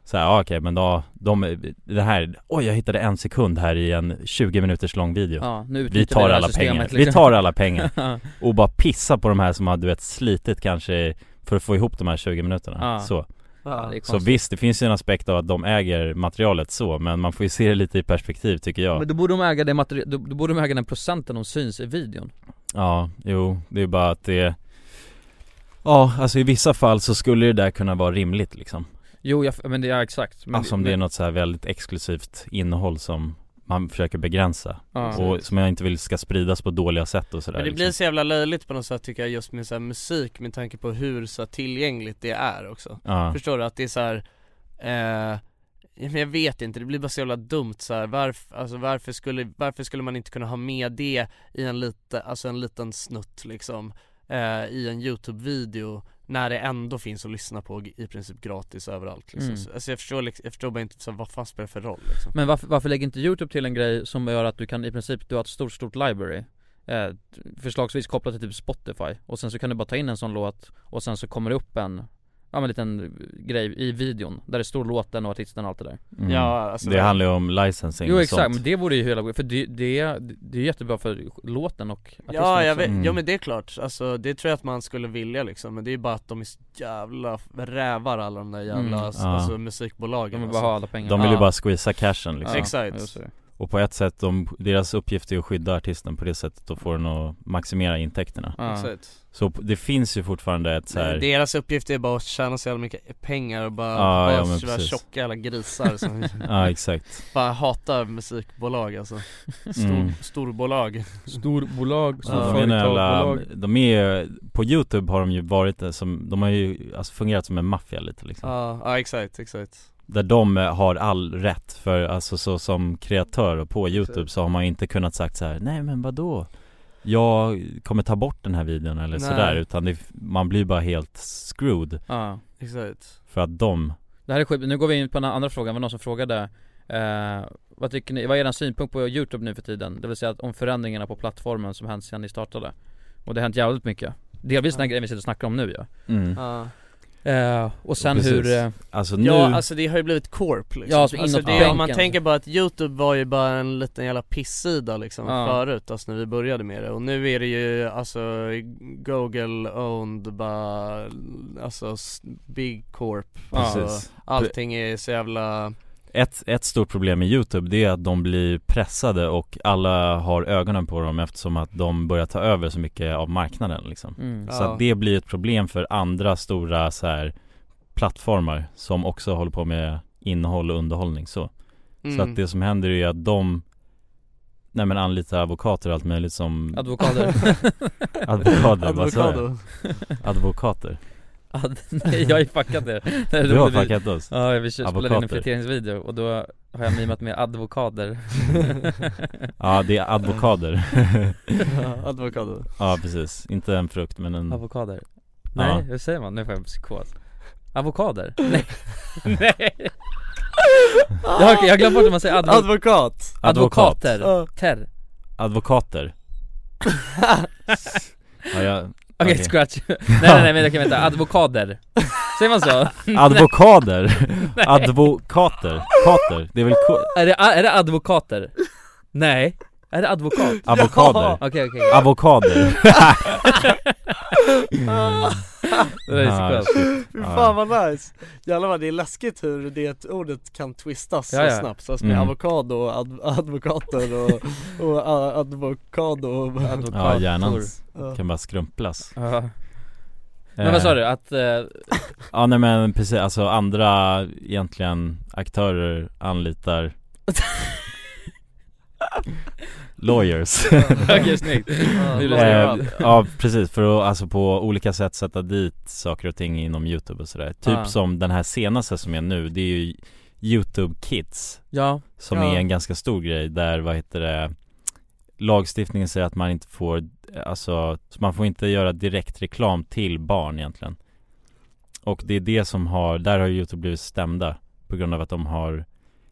så här, ja, okej men då, de, det här, oj jag hittade en sekund här i en 20 minuters lång video. Ja, nu Vi utnyttjar tar det här alla systemet, pengar, vi liksom. tar alla pengar Ja. och bara pissar på de här som har du vet slitit kanske för att få ihop de här 20 minuterna. Ja. Så. Ja, ja. det är Så Ah, konstigt. visst, det finns ju en aspekt av att de äger materialet så, men man får ju se det lite i perspektiv tycker jag Men då borde de äga det materi- då, då borde de äga den procenten de syns i videon Ja, jo, det är bara att det Ja, alltså i vissa fall så skulle det där kunna vara rimligt liksom Jo, jag, f- men det är exakt men, Alltså om det är men, något så här väldigt exklusivt innehåll som man försöker begränsa ja. och som jag inte vill ska spridas på dåliga sätt och sådär Men det liksom. blir så jävla löjligt på något sätt tycker jag just med så här musik med tanke på hur så här, tillgängligt det är också Ja, Förstår du? Att det är så här. Eh, ja, men jag vet inte, det blir bara så jävla dumt så här. Varför, alltså, varför, skulle, varför skulle man inte kunna ha med det i en, lite, alltså, en liten snutt liksom eh, I en YouTube-video när det ändå finns att lyssna på g- i princip gratis överallt liksom. Mm. Så- Alltså jag förstår, liksom- jag förstår bara inte så här, vad fan spelar det för roll liksom. Men varför, varför lägger inte youtube till en grej som gör att du kan i princip, du har ett stort, stort library eh, Förslagsvis kopplat till typ Spotify och sen så kan du bara ta in en sån låt och sen så kommer det upp en Ja men en liten grej i videon där det står låten och artisten och allt det där mm. Ja, alltså, Det handlar ju om licensing Jo och exakt, sånt. men det vore ju hela för det, det, det är jättebra för låten och artisten Ja, jag också. vet, Mm. ja men det är klart, alltså det tror jag att man skulle vilja liksom, men det är ju bara att de är så jävla rävar alla de där jävla Mm. alltså, Ja. alltså, musikbolagen De vill bara alltså. ha alla pengar Mm. De vill ju Ja. bara squeeza cashen liksom Exakt. just det. Och på ett sätt, de, deras uppgift är att skydda artisten på det sättet och få den att maximera intäkterna Ja. Exakt. Så p- det finns ju fortfarande ett så här, Deras uppgift är bara att tjäna så jävla mycket pengar och bara, Ja, ja, bara men vara precis. tjocka jävla grisar som Ja, exakt. Bara hatar musikbolag alltså Stor, Mm. Storbolag Storbolag, Ja, de, är en jävla, de är ju- på youtube har de ju varit eh, som, de har ju alltså fungerat som en maffia lite liksom Ja, ja exakt, exakt Där de eh, har all rätt för, alltså så som kreatör och på youtube så har man inte kunnat sagt så här: nej men vadå? Jag kommer ta bort den här videon eller Nej. sådär utan det, man blir bara helt screwed Ja. Exakt För att de Det här är skit, nu går vi in på den andra frågan, det var någon som frågade eh, vad, tycker ni, vad är er synpunkt på Youtube nu för tiden? Det vill säga att om förändringarna på plattformen som hänt sedan ni startade Och det har hänt jävligt mycket Delvis den här grejen vi sitter och snackar om nu ja Mm. Ja. Eh, Och sen Precis. hur eh, Alltså nu, Ja alltså det har ju blivit corp liksom Ja, alltså alltså, inåt det, Om man bänken. tänker bara att youtube var ju bara en liten jävla pissida liksom Ja. förut, alltså när vi började med det och nu är det ju alltså Google owned bara, alltså s- big corp Precis. Och Allting är så jävla ett, ett stort problem med youtube det är att de blir pressade och alla har ögonen på dem eftersom att de börjar ta över så mycket av marknaden liksom Mm. Så Ja. att det blir ett problem för andra stora så här plattformar som också håller på med innehåll och underhållning så Så Mm. att det som händer är att de Nej men anlitar advokater och allt möjligt som advokater Advokater, vad sa jag? Advokado. Advokater Ad- Nej jag har ju fuckat er Det här är Du har roligt. fuckat oss Ja, vi kör- spelade in en Advokater. friteringsvideo och då har jag mimat med advokater Ja det är advokater Ja, Advokado Ja precis, inte en frukt men en Avokader? Nej, Ja. hur säger man? Nu får jag psykos Avokader? Nej! Nej! Jag har, jag har glömt bort hur man säger advo- Advokat! Advokat. advokater, Ja. ter Advokater ja, jag... Okej, Okej. scratch Nej nej nej men jag kan vänta, advokader Säger man så? Advokader, advokater, kater, det är väl ko- Är det, är det advokater? Nej, är det advokat? avokader? Okej okej, Avokader det där är Ja, så skönt Fy Ja. fan vad nice! Jävlar vad det är läskigt hur det ordet kan twistas Ja, ja. så snabbt, alltså med Mm. avokado och ad- advokater och, och a- advokado och Ja Advokator. hjärnan Ja. kan bara skrumplas Ja. Men vad sa du? Att, eh, Ja nej men precis, alltså andra egentligen aktörer anlitar Lawyers okej snyggt Nu låter det Eh, bra. Ja precis, för att alltså på olika sätt sätta dit saker och ting inom youtube och sådär Typ Ah. som den här senaste som är nu, det är ju youtube kids Ja, Som Ja. är en ganska stor grej där, vad heter det Lagstiftningen säger att man inte får, alltså, så man får inte göra direkt reklam till barn egentligen Och det är det som har, där har Youtube blivit stämda På grund av att de har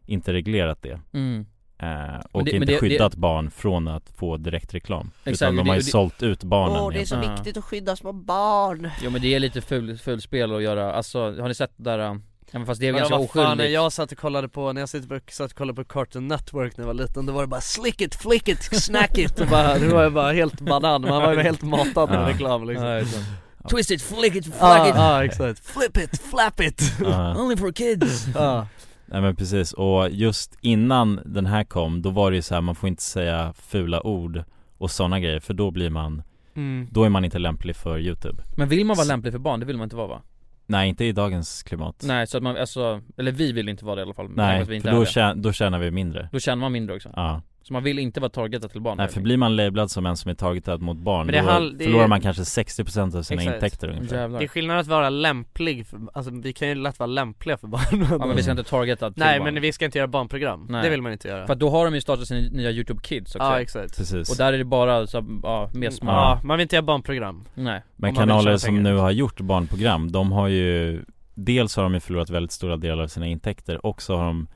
inte reglerat det mm. eh, Och det- men inte det- skyddat barn från att få direktreklam Exakt, Utan de det- har ju det- sålt ut barnen egentligen. så viktigt att skydda små barn! Jo men det är lite ful, ful spel att göra, alltså har ni sett det där, äh, ja, men fast det är Ja, ganska vad fan, när oskyldigt jag satt och kollade på, när jag satt och, satt och kollade på Cartoon Network när jag var liten, då var det bara slick it, flick it, snack it och bara, det var jag bara helt banan, man var ju helt matad med Ja. reklam liksom Ja, Ja, exakt. Twist it, flick it, ah, flag it, exakt, flip it, flap it! Ja. only for kids Ja. Nej men precis, och just innan den här kom då var det ju så här, man får inte säga fula ord och sådana grejer för då blir man, Mm. då är man inte lämplig för youtube Men vill man vara lämplig för barn? Det vill man inte vara va? Nej inte i dagens klimat Nej så att man, alltså, eller vi vill inte vara det i alla fall med tanke på Nej, att vi för inte är då, det. tjä- då tjänar vi mindre då känner man mindre också Ja, Så man vill inte vara targetad till barn nej för blir man lablad som en som är targetad mot barn Men det då handl- det- förlorar man kanske 60% av sina Exakt. intäkter ungefär Jävlar Det är skillnad att vara lämplig, för, alltså vi kan ju lätt vara lämpliga för barn Ja men vi ska inte targeta till Nej barn men vi ska inte göra barnprogram, Nej. det vill man inte göra För att då har de ju startat sina nya youtube kids också Ja exakt Precis Och där är det bara så, ja, mer Mm, smart Ja, man vill inte göra barnprogram Nej Men om man vill tjäna kanaler som pengar. nu har gjort barnprogram, de har ju Dels har de ju förlorat väldigt stora delar av sina intäkter och så har de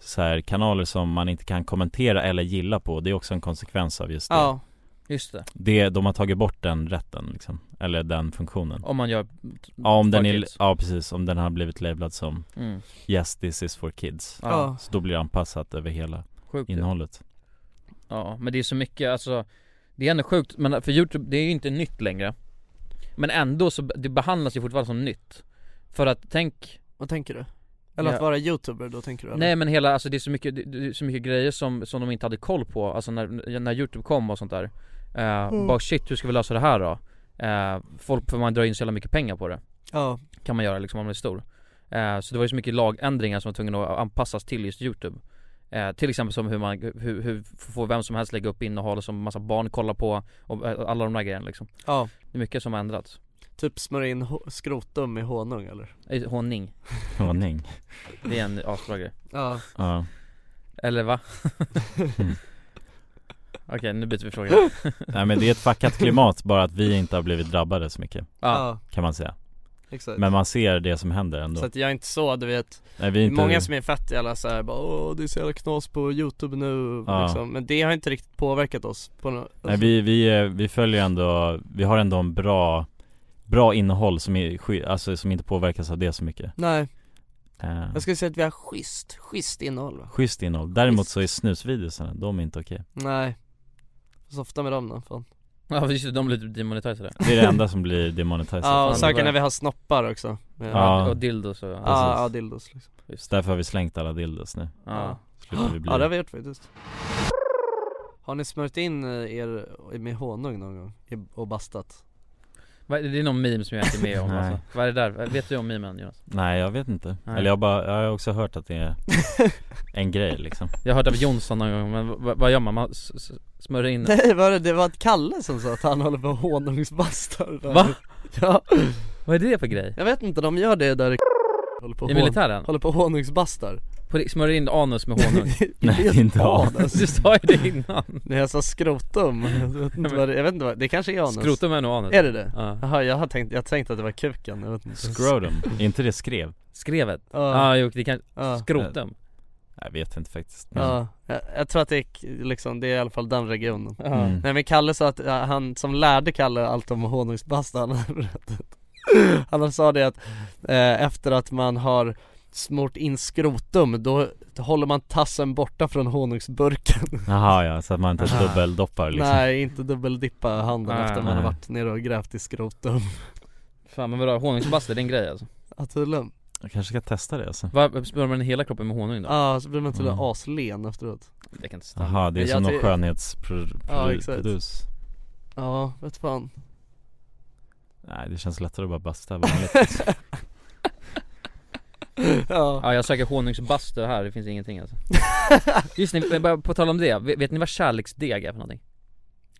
så här kanaler som man inte kan kommentera eller gilla på Det är också en konsekvens av just det, Ja, Just det, det De har tagit bort den rätten liksom, eller den funktionen om man gör Mm, Ja om den är, targets. ja precis, om den har blivit labelad som mm. Yes this is for kids Ja, Ja. Så då blir det anpassat över hela sjukt ju. innehållet Ja, men det är så mycket, alltså Det är ändå sjukt, men för youtube, det är ju inte nytt längre Men ändå så, det behandlas ju fortfarande som nytt För att tänk, vad tänker du? Eller Ja. att vara youtuber då tänker du? eller? Nej men hela, alltså det är så mycket, det- det är så mycket grejer som, som de inte hade koll på, alltså när, när youtube kom och sånt där Eh, Mm. Bara shit, hur ska vi lösa det här då? Eh, folk, för man drar in så jävla mycket pengar på det Ja. Kan man göra liksom om man är stor Eh, Så det var ju så mycket lagändringar som var tvungna att anpassas till just youtube Eh, till exempel som hur man, hur, hur får vem som helst lägga upp innehåll som massa barn kollar på och eh, alla de där grejerna liksom Ja. Det är mycket som har ändrats Typ smörja in ho- skrotum i honung eller? Eh, Honning, Ordning. det är en asbra grej Ja Ja. Eller va? Okej, nu byter vi fråga Nej men det är ett fuckat klimat, bara att vi inte har blivit drabbade så mycket, Ja, kan man säga. exakt Men man ser det som händer ändå. Så att jag är inte så, du vet Nej, vi är inte... Många som är fett jävla såhär bara åh det är så jävla knas på youtube nu Ja. liksom. Men det har inte riktigt påverkat oss på något Nej, vi, vi, eh, vi följer ändå, vi har ändå en bra, bra innehåll som, är, sky- alltså, som inte påverkas av det så mycket. Nej, Eh, jag skulle säga att vi har schysst, schysst innehåll va? Schysst innehåll. Däremot så är snusvideorna, de är inte okej. Nej Så ofta med dem då, fan Ja just det, de blir typ demonetiserade Det är det enda som blir demonetiserat. Ja och fan, säkert det var- när vi har snoppar också Ja, ja, Ja. Och dildos och, ja, dildos liksom Så därför har vi slängt alla dildos nu. ja. Slutar vi bli. Ja det har vi gjort faktiskt Har ni smörjt in eh, er med honung någon gång? I- Och bastat? Vad- Det är någon meme som jag inte är med om Nej. alltså. Vad är det där? Vad- Vet du om memen Jonas? Nej jag vet inte. Nej. Eller jag, bara, jag har också hört att det är en grej liksom. Jag har hört av Jonsson någon gång men vad, vad gör man? Man s- s- smörjer in Nej var det, det var ett Kalle som sa att han håller på och honungsbastar Va? Ja Vad är det för grej? Jag vet inte, de gör det där i håller på och I hån- militären? Håller på och honungsbastar På, ri- smörjer in anus med honung? Nej, vet inte fan, anus. alltså. Du sa ju det innan! Nej jag sa skrotum, jag vet inte vad det, jag vet inte vad, det kanske är anus Skrotum är nog anus Är det det? Ja. Jaha jag har tänkt, jag tänkte att det var kuken, jag vet inte Scrotum, är inte det skrev? Skrevet? Ja Ja, ah, jo det kan, ja, skrotum Jag vet inte faktiskt. Men- ja, jag, jag tror att det är k- liksom, det är i alla fall den regionen Ja. Mm. Nej men Kalle sa att ja, han som lärde Kalle allt om honungsbasta han hade berättat Han sa det att eh, efter att man har smort in skrotum då håller man tassen borta från honungsburken Jaha ja, så att man inte Aha. dubbeldoppar liksom. Nej inte dubbeldippa handen Nej, efter man har nej. varit nere och grävt i skrotum Fan men vadå, honungsbaster det är en grej alltså? Ja tydligen Jag kanske ska testa det alltså. Vad- Smörjer man in hela kroppen med honung då? Ja så blir man tydligen Mm. aslen efteråt Det kan inte stanna Jaha, det är Men som jag någon ty- Ja, exakt. skönhetsprodus. Ja vet fan Nej det känns lättare att bara basta vanligt. liksom. Ja Ja jag söker honungsbastu här, det finns ingenting alltså Just ni, bara på tal om det, vet vet ni vad kärleksdeg är för någonting?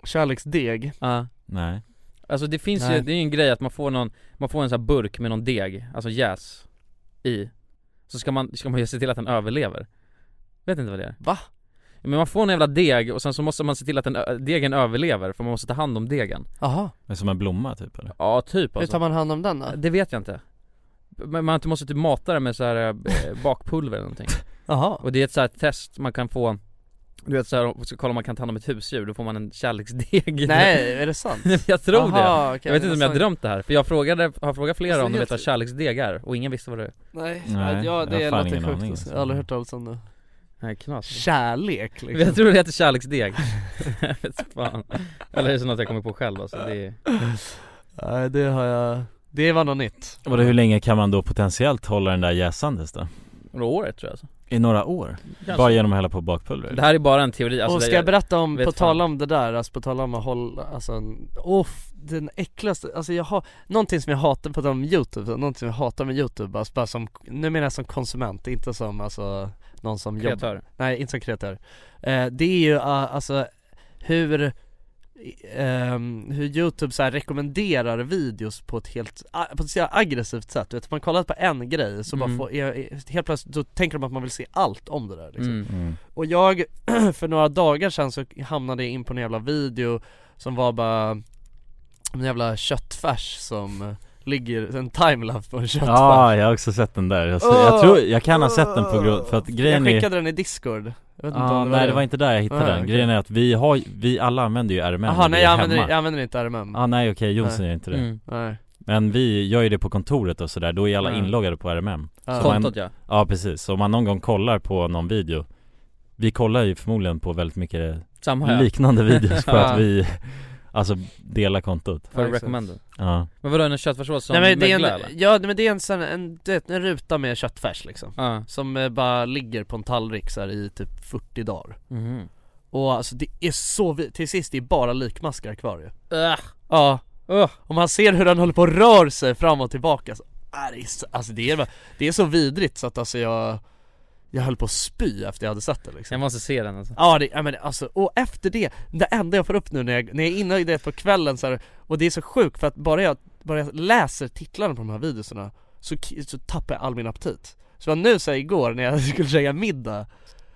Kärleksdeg Ja Nej. Alltså det finns ju, Nej. det är ju en grej att man får någon, man får en sån här burk med någon deg, alltså jäs i Så ska man, ska man ju se till att den överlever Vet inte vad det är Va? Men man får en jävla deg och sen så måste man se till att den, ö- degen överlever för man måste ta hand om degen Jaha, Men som en blomma typ eller? Ja typ hur tar alltså. man hand om den då? Det vet jag inte Men man måste typ mata den med så här eh, bakpulver eller någonting Jaha Och det är ett så här test man kan få Du vet såhär, om kolla om man kan ta hand om ett husdjur, då får man en kärleksdeg Nej, är det sant? Jag tror det Aha, okej, Jag vet men inte om jag har såg- drömt det här, för jag frågade, har frågat flera Alltså, om de jag vet vad tror- kärleksdeg är och ingen visste vad det är Nej, Nej, ja, jag det har är fan låter ingen sjukt aning, alltså. Jag alltså. har aldrig hört talas om det Nej knas Kärlek liksom. Jag tror det heter kärleksdeg Jag vet fan. Eller är det så något jag kommer på själv alltså, det är... Nej det har jag, det var något nytt Vadå hur länge kan man då potentiellt hålla den där jäsandes då? Några året tror jag alltså. I några år? Kanske. Bara genom att hälla på bakpulver? Det här är bara en teori alltså, Och det- ska jag berätta om, vet på fan. tal om det där, alltså på tal om att hålla, alltså en- off, den äckligaste, alltså jag har, någonting som jag hatar på tal om youtube, så någonting som jag hatar med youtube, alltså bara som, nu menar jag som konsument, inte som alltså någon som jobbar kreatör Nej, inte som kreatör. Eh, det är ju eh, alltså hur ehm, hur youtube så här rekommenderar videos på ett helt, a- på ett så jävla aggressivt sätt du vet, man kollar på en grej så Mm. bara får, är, är, helt plötsligt så tänker de att man vill se allt om det där liksom. mm. Mm. Och jag, för några dagar sedan så hamnade jag in på en jävla video som var bara en jävla köttfärs som eh, ligger, en timelapse på en köttfärs Ja, jag har också sett den där. Jag, jag tror, jag kan ha sett den på grund, för att grejen Jag är skickade den i discord, jag vet inte Ja, om det var nej det. det var inte där jag hittade Nej, den. okej. Grejen är att vi har, vi alla använder ju RMM Jaha när vi nej är jag hemma. använder, jag använder inte RMM ah, nej okej, Jonsson gör inte det. Mm. Nej Men vi gör ju det på kontoret och sådär, då är alla Ja. Mm. inloggade på RMM. Ja. Så man- Kontot ja, Ja precis, så om man någon gång kollar på någon video Vi kollar ju förmodligen på väldigt mycket samma här liknande videos för Ja. att vi Alltså dela kontot För recommended Ja Men vadå en köttfärssås som Nej, men det är en, mögla eller? Ja men det är en sån, en, du vet, en ruta med köttfärs liksom Ja. Som eh, bara ligger på en tallrik så här, i typ 40 dagar Mhm. Och alltså det är så vi- till sist det är bara likmaskar kvar ju Ugh. Ja Och man ser hur den håller på och rör sig fram och tillbaka så, ah, det, är så, alltså, det, är, bara- det är så vidrigt så att alltså jag Jag höll på att spy efter jag hade sett det liksom Jag måste se den alltså Ja det, ja, men alltså, och efter det, det enda jag får upp nu när jag, när jag är inne i det på kvällen så här, och det är så sjukt för att bara jag, bara jag läser titlarna på de här videorna så, k- så tappar jag all min aptit. Så jag nu så här, igår när jag skulle käka middag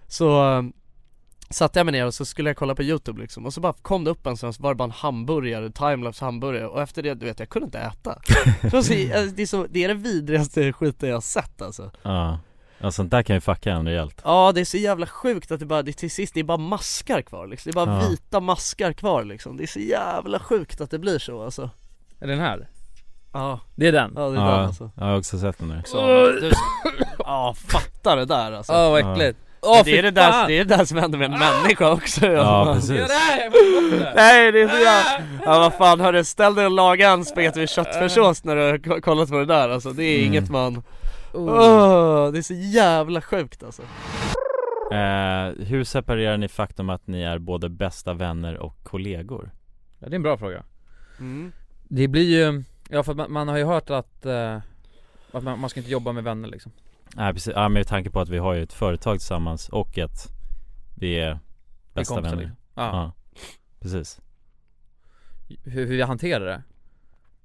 så eh, satte jag mig ner och så skulle jag kolla på youtube liksom och så bara kom det upp en sån, så var det bara en hamburgare, timelapse hamburgare och efter det, du vet jag kunde inte äta. Så, så, alltså, det, är så, det är det vidrigaste skiten jag har sett alltså. Ja Ja sånt där kan ju fucka en rejält Ja det är så jävla sjukt att det bara, det till sist det är bara maskar kvar liksom. Det är bara Ja. vita maskar kvar liksom. Det är så jävla sjukt att det blir så alltså Är den här? Ja, Det är den? ja det är den Ja, alltså jag har också sett den där Så, du- Ja fatta det där alltså Åh vad äckligt Åh det, är det, fy där, fan! det är det där som händer med en människa också Ja precis Nej, jag får bort det! Nej det är så jävla, ja vad fan hörru ställ dig och laga en spagetti med köttfärssås när du har k- kollat på det där alltså, det är Mm. inget man Oh. Åh, det är så jävla sjukt alltså eh, Hur separerar ni faktum att ni är både bästa vänner och kollegor? Ja, det är en bra fråga mm. Det blir ju, ja för att man, man har ju hört att, eh, att man, man ska inte jobba med vänner liksom Nej precis, ja, med tanke på att vi har ju ett företag tillsammans och att vi är Med bästa kompisar, vänner liksom. Ja, Ja. Precis Hur, hur vi hanterar det?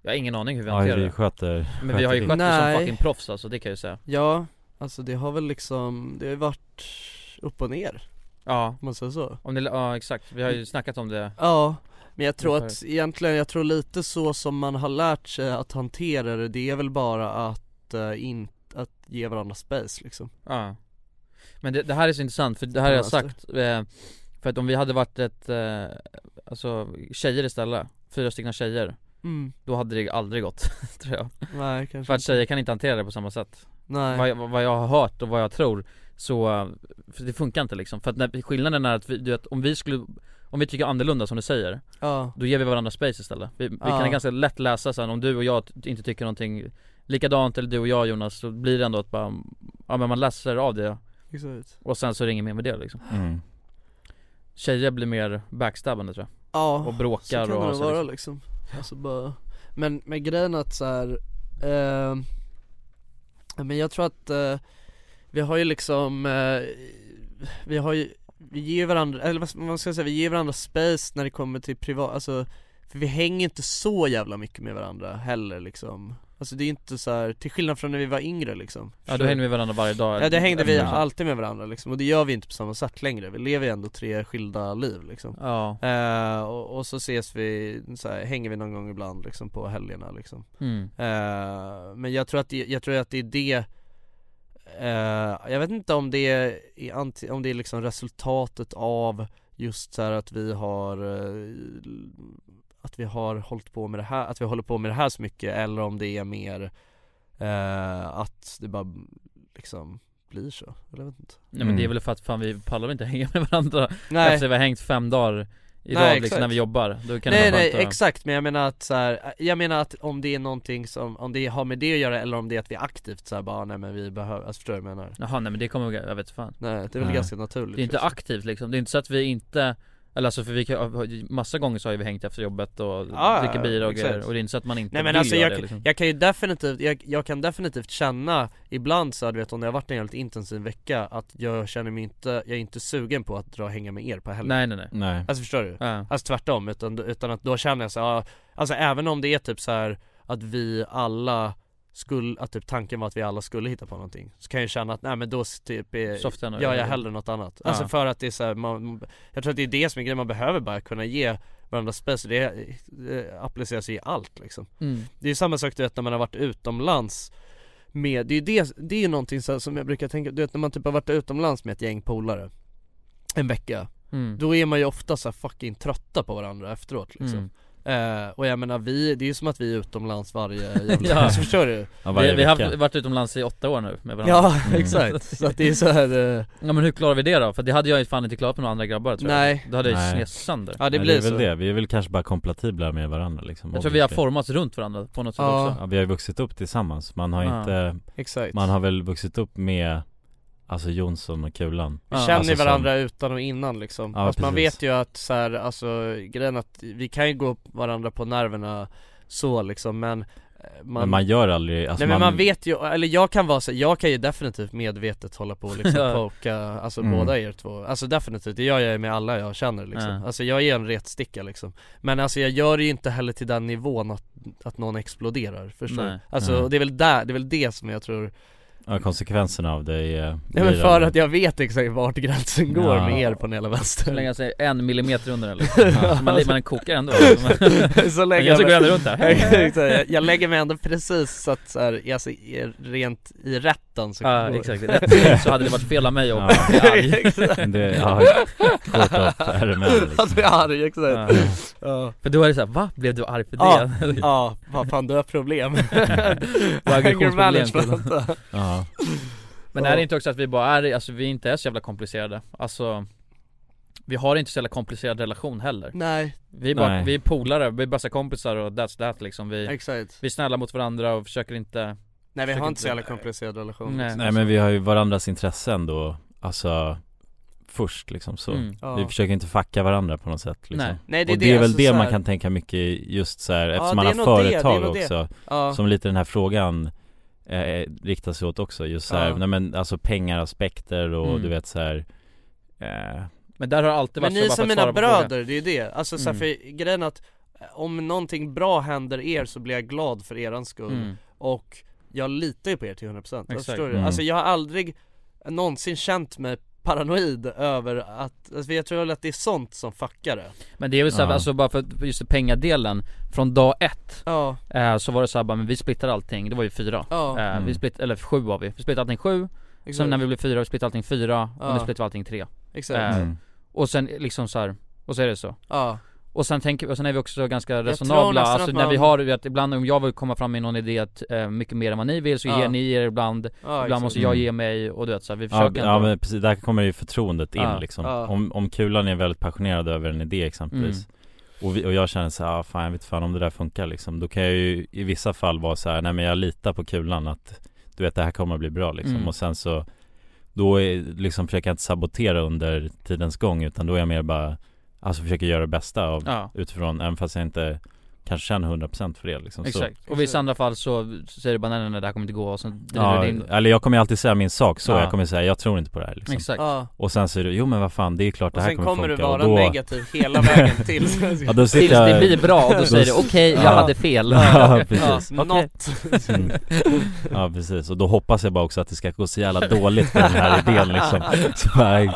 Jag har ingen aning hur vi Ja hanterar vi sköter det Men vi har ju det. skött det Nej. som fucking proffs alltså, det kan jag ju säga Ja, alltså det har väl liksom, det har ju varit upp och ner Ja, Om man säger så? om det, ja exakt, vi har ju snackat om det Ja, men jag tror Ungefär. att egentligen, jag tror lite så som man har lärt sig att hantera det, det är väl bara att eh, in, att ge varandra space liksom Ja Men det, det här är så intressant för det här har jag sagt eh, För att om vi hade varit ett, eh, alltså tjejer istället Fyra stycken tjejer mm. Då hade det aldrig gått, tror jag Nej kanske För att tjejer kan inte hantera det på samma sätt Nej, vad jag, vad jag har hört och vad jag tror Så, eh, för det funkar inte liksom För att när, skillnaden är att vi, du vet, om vi skulle Om vi tycker annorlunda som du säger ja, Då ger vi varandra space istället Vi, vi Ja. kan ganska lätt läsa sen om du och jag t- inte tycker någonting Likadant eller du och jag Jonas, så blir det ändå att bara Ja men man läser av det exakt och sen så ringer mer med det liksom mm. Tjejer blir mer backstabbande tror Ja, jag Och så bråkar kan det och har nog sig, vara liksom. liksom, alltså bara Men, men grejen att så här, eh, men jag tror att eh, vi har ju liksom, eh, vi har ju, vi ger varandra, eller vad ska man ska säga, vi ger varandra space när det kommer till privat, alltså för vi hänger inte så jävla mycket med varandra heller liksom Alltså det är inte så här, till skillnad från när vi var yngre liksom Ja då hänger vi varandra varje dag Mm. Ja det hängde vi Ja. alltid med varandra liksom, och det gör vi inte på samma sätt längre, vi lever ju ändå tre skilda liv liksom Ja, Eh, och, och så ses vi, så här, hänger vi någon gång ibland liksom på helgerna liksom mm. Eh, Men jag tror att det, jag tror att det är det eh, Jag vet inte om det är, i anti- om det är liksom resultatet av just så här att vi har eh, Att vi har hållit på med det här, att vi håller på med det här så mycket eller om det är mer eh, att det bara liksom blir så, eller jag vet inte Nej men det är väl för att fan vi pallar väl inte hänga med varandra Nej. Efter vi har hängt fem dagar i Nej, rad liksom exakt. när vi jobbar Då kan nej det vara nej skönt att- exakt men jag menar att så här, jag menar att om det är någonting som, om det har med det att göra eller om det är att vi aktivt så här, bara "Ah, nej men vi behöver, alltså förstår du vad jag menar? Jaha nej men det kommer, jag vet fan Nej det är väl Nej. ganska naturligt Det är inte liksom. aktivt liksom, det är inte så att vi inte eller alltså för vi kan, massa gånger så har ju vi hängt efter jobbet och Ja, dricker bira och exakt. grejer och det är inte så att man inte Nej men vill alltså göra jag, det liksom. jag kan ju definitivt, jag, jag kan definitivt känna ibland så här, du vet om det har varit en jävligt intensiv vecka att jag känner mig inte, jag är inte sugen på att dra och hänga med er på helgen Nej nej nej Nej Alltså förstår du? Mm. ja. Alltså tvärtom, utan, utan att då känner jag så här, ja, alltså även om det är typ så här att vi alla skulle, att typ tanken var att vi alla skulle hitta på någonting Så kan jag ju känna att nej men då s- typ är, Softa nu. gör jag hellre något annat Alltså Ja. för att det är så här, man, jag tror att det är det som är grejen, man behöver bara kunna ge varandra space det, det appliceras ju i allt liksom mm. det är ju samma sak du vet när man har varit utomlands med, det är ju det, det är ju någonting så här, som jag brukar tänka, du vet när man typ har varit utomlands med ett gäng polare En vecka, Mm. Mm. då är man ju ofta så här fucking trötta på varandra efteråt liksom Mm. Eh, och jag menar vi, det är ju som att vi är utomlands varje jävla... alltså, förstår du? vi, vi har haft, varit utomlands i åtta år nu med varandra Ja, Mm. exakt. Så att det är så här, eh, Ja men hur klarar vi det då? För det hade jag ju fan inte klarat med några andra grabbar tror Nej. jag Då hade jag ju Nej. snett sönder Ja det Men blir är väl så det, vi är väl kanske bara kompatibla med varandra liksom Jag tror vi har Och- formats runt varandra på något sätt Ja. också Ja, vi har ju vuxit upp tillsammans, man har Ja. inte, Exakt man har väl vuxit upp med Alltså Jonsson och Kulan Vi Ja. känner Alltså, som- varandra utan och innan liksom. Ja, Fast man precis. vet ju att så här, alltså grejen att vi kan ju gå varandra på nerverna så liksom men eh, man, Men man gör aldrig, alltså Nej men man vet ju, eller jag kan vara så, jag kan ju definitivt medvetet hålla på och liksom Ja. poka, alltså Mm. båda er två Alltså definitivt, det gör jag ju med alla jag känner liksom Ja. Alltså jag är en retsticka liksom Men alltså jag gör det ju inte heller till den nivån att, att någon exploderar, förstår du? Nej. Alltså Mm. och det är väl där, det är väl det som jag tror ja, konsekvenserna av det eh, är Nej men för att jag vet exakt vart gränsen går Ja. med er på den hela Så vänstern länge jag säger en millimeter under den liksom. ja. man, man kokar ändå Men så länge jag så går jag ändå runt där Exakt, jag- jag lägger mig ändå precis så att så här, alltså, i- rent i rätten så Ja exakt, Rätt så hade det varit fel av mig Ja. att bli arg Det, ja, kort av ärmen liksom. Att du är arg, Ja. exakt Ja, För då är det såhär, va? Blev du arg för Ja. det? ja, vad fan du har problem Och aggressionsproblem. management. ja. Men är det inte också att vi bara är, alltså vi inte är så jävla komplicerade Alltså Vi har inte så jävla komplicerad relation heller Nej, Vi är bara, Nej. vi är polare, vi är bästa kompisar och that's that liksom Vi, exakt vi är snälla mot varandra och försöker inte Nej vi Försöker har inte så jävla inte- komplicerad relation Nej. liksom. Nej men vi har ju varandras intressen då, alltså först liksom så Mm. Ja. Vi försöker inte fucka varandra på något sätt liksom. Nej. Nej Och det är väl alltså, det så man här- kan tänka mycket i just så här, Ja, eftersom det man är har nog det, det är företag nog det. också ja. Som lite den här frågan eh, riktar sig åt också, just så här, Ja. nej men alltså pengaraspekter och Mm. du vet så här, eh, Men där har det alltid Men varit ni är så bara för som att mina svara på frågan. bröder, det är ju det. Alltså så här, Mm. för grejen är att eh, om någonting bra händer er så blir jag glad för eran skull Mm. och jag litar ju på er till 100% jag Exakt. förstår du? Mm. Alltså jag har aldrig någonsin känt mig paranoid över att, alltså jag tror väl att det är sånt som fuckar det Men det är väl såhär, Ja. alltså bara för för just pengadelen Från dag ett Ja, eh, så var det såhär bara, men vi splittar allting, det var ju fyra ja, eh, Mm. Vi splitt, eller sju var vi, vi splittade allting sju, exakt, sen när vi blev fyra, vi splittade allting fyra, och Ja. nu splittar vi allting tre exakt, eh, mm. Och sen liksom så här, och så är det så ja, Och sen tänker och sen är vi också ganska tror resonabla, nästan alltså att när vi man- har, du vet, ibland om jag vill komma fram med någon idé att, eh, mycket mer än vad ni vill så Ja. ger ni er ibland, ja, ibland måste exakt. jag Mm. ge mig och du vet så här, vi ja, försöker ja ändå. men precis, där kommer ju förtroendet in Ja. liksom Ja. om, om kulan är väldigt passionerad över en idé exempelvis Mm. Mm. och, vi, och jag känner så här, ah, fan jag vet fan om det där funkar liksom Då kan jag ju i vissa fall vara så här, nej men jag litar på kulan att Du vet det här kommer att bli bra liksom Mm. och sen så Då är, liksom försöker jag inte sabotera under tidens gång utan då är jag mer bara Alltså försöker göra det bästa av Ja, utifrån även fast jag inte kanske känner 100% för det liksom så. exakt. Och vissa andra fall så säger du bara nej, nej, nej det här kommer inte gå och sen driver Ja, du din eller jag kommer ju alltid säga min sak så, Ja. jag kommer säga jag tror inte på det här liksom. Exakt. Ja, Och sen säger du, jo men vad fan det är klart det och här sen kommer, kommer du funka vara och då, negativ hela vägen till ja, då Tills sitter det jag blir bra och då säger du okej, Ja. jag hade fel Ja precis, Något, Mm. ja precis och då hoppas jag bara också att det ska gå så jävla dåligt för den här idén liksom Så jag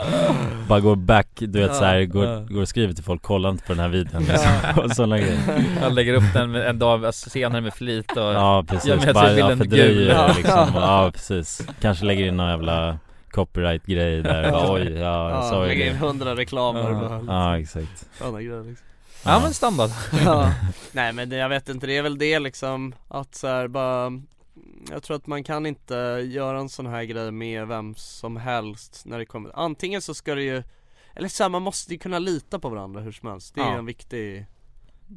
bara går back, du vet Ja, såhär, går, ja. går och skriver till folk, kolla inte på den här videon liksom. och sådana grejer Han lägger upp den en dag senare med flit och Ja precis, Ja, men jag bara tror jag bilden fördröjer gul. det liksom Ja precis, kanske lägger in någon jävla copyright-grej där, bara, oj, ja jag ja, sa ju lägga in det hundra reklamer Ja, bara, Ja exakt sådana grejer liksom. Ja men standard Ja. Nej men det, jag vet inte, det är väl det liksom att så här, bara Jag tror att man kan inte göra en sån här grej med vem som helst när det kommer Antingen så ska det ju Eller så här, man måste ju kunna lita på varandra hur som helst Det är ju Ja. en viktig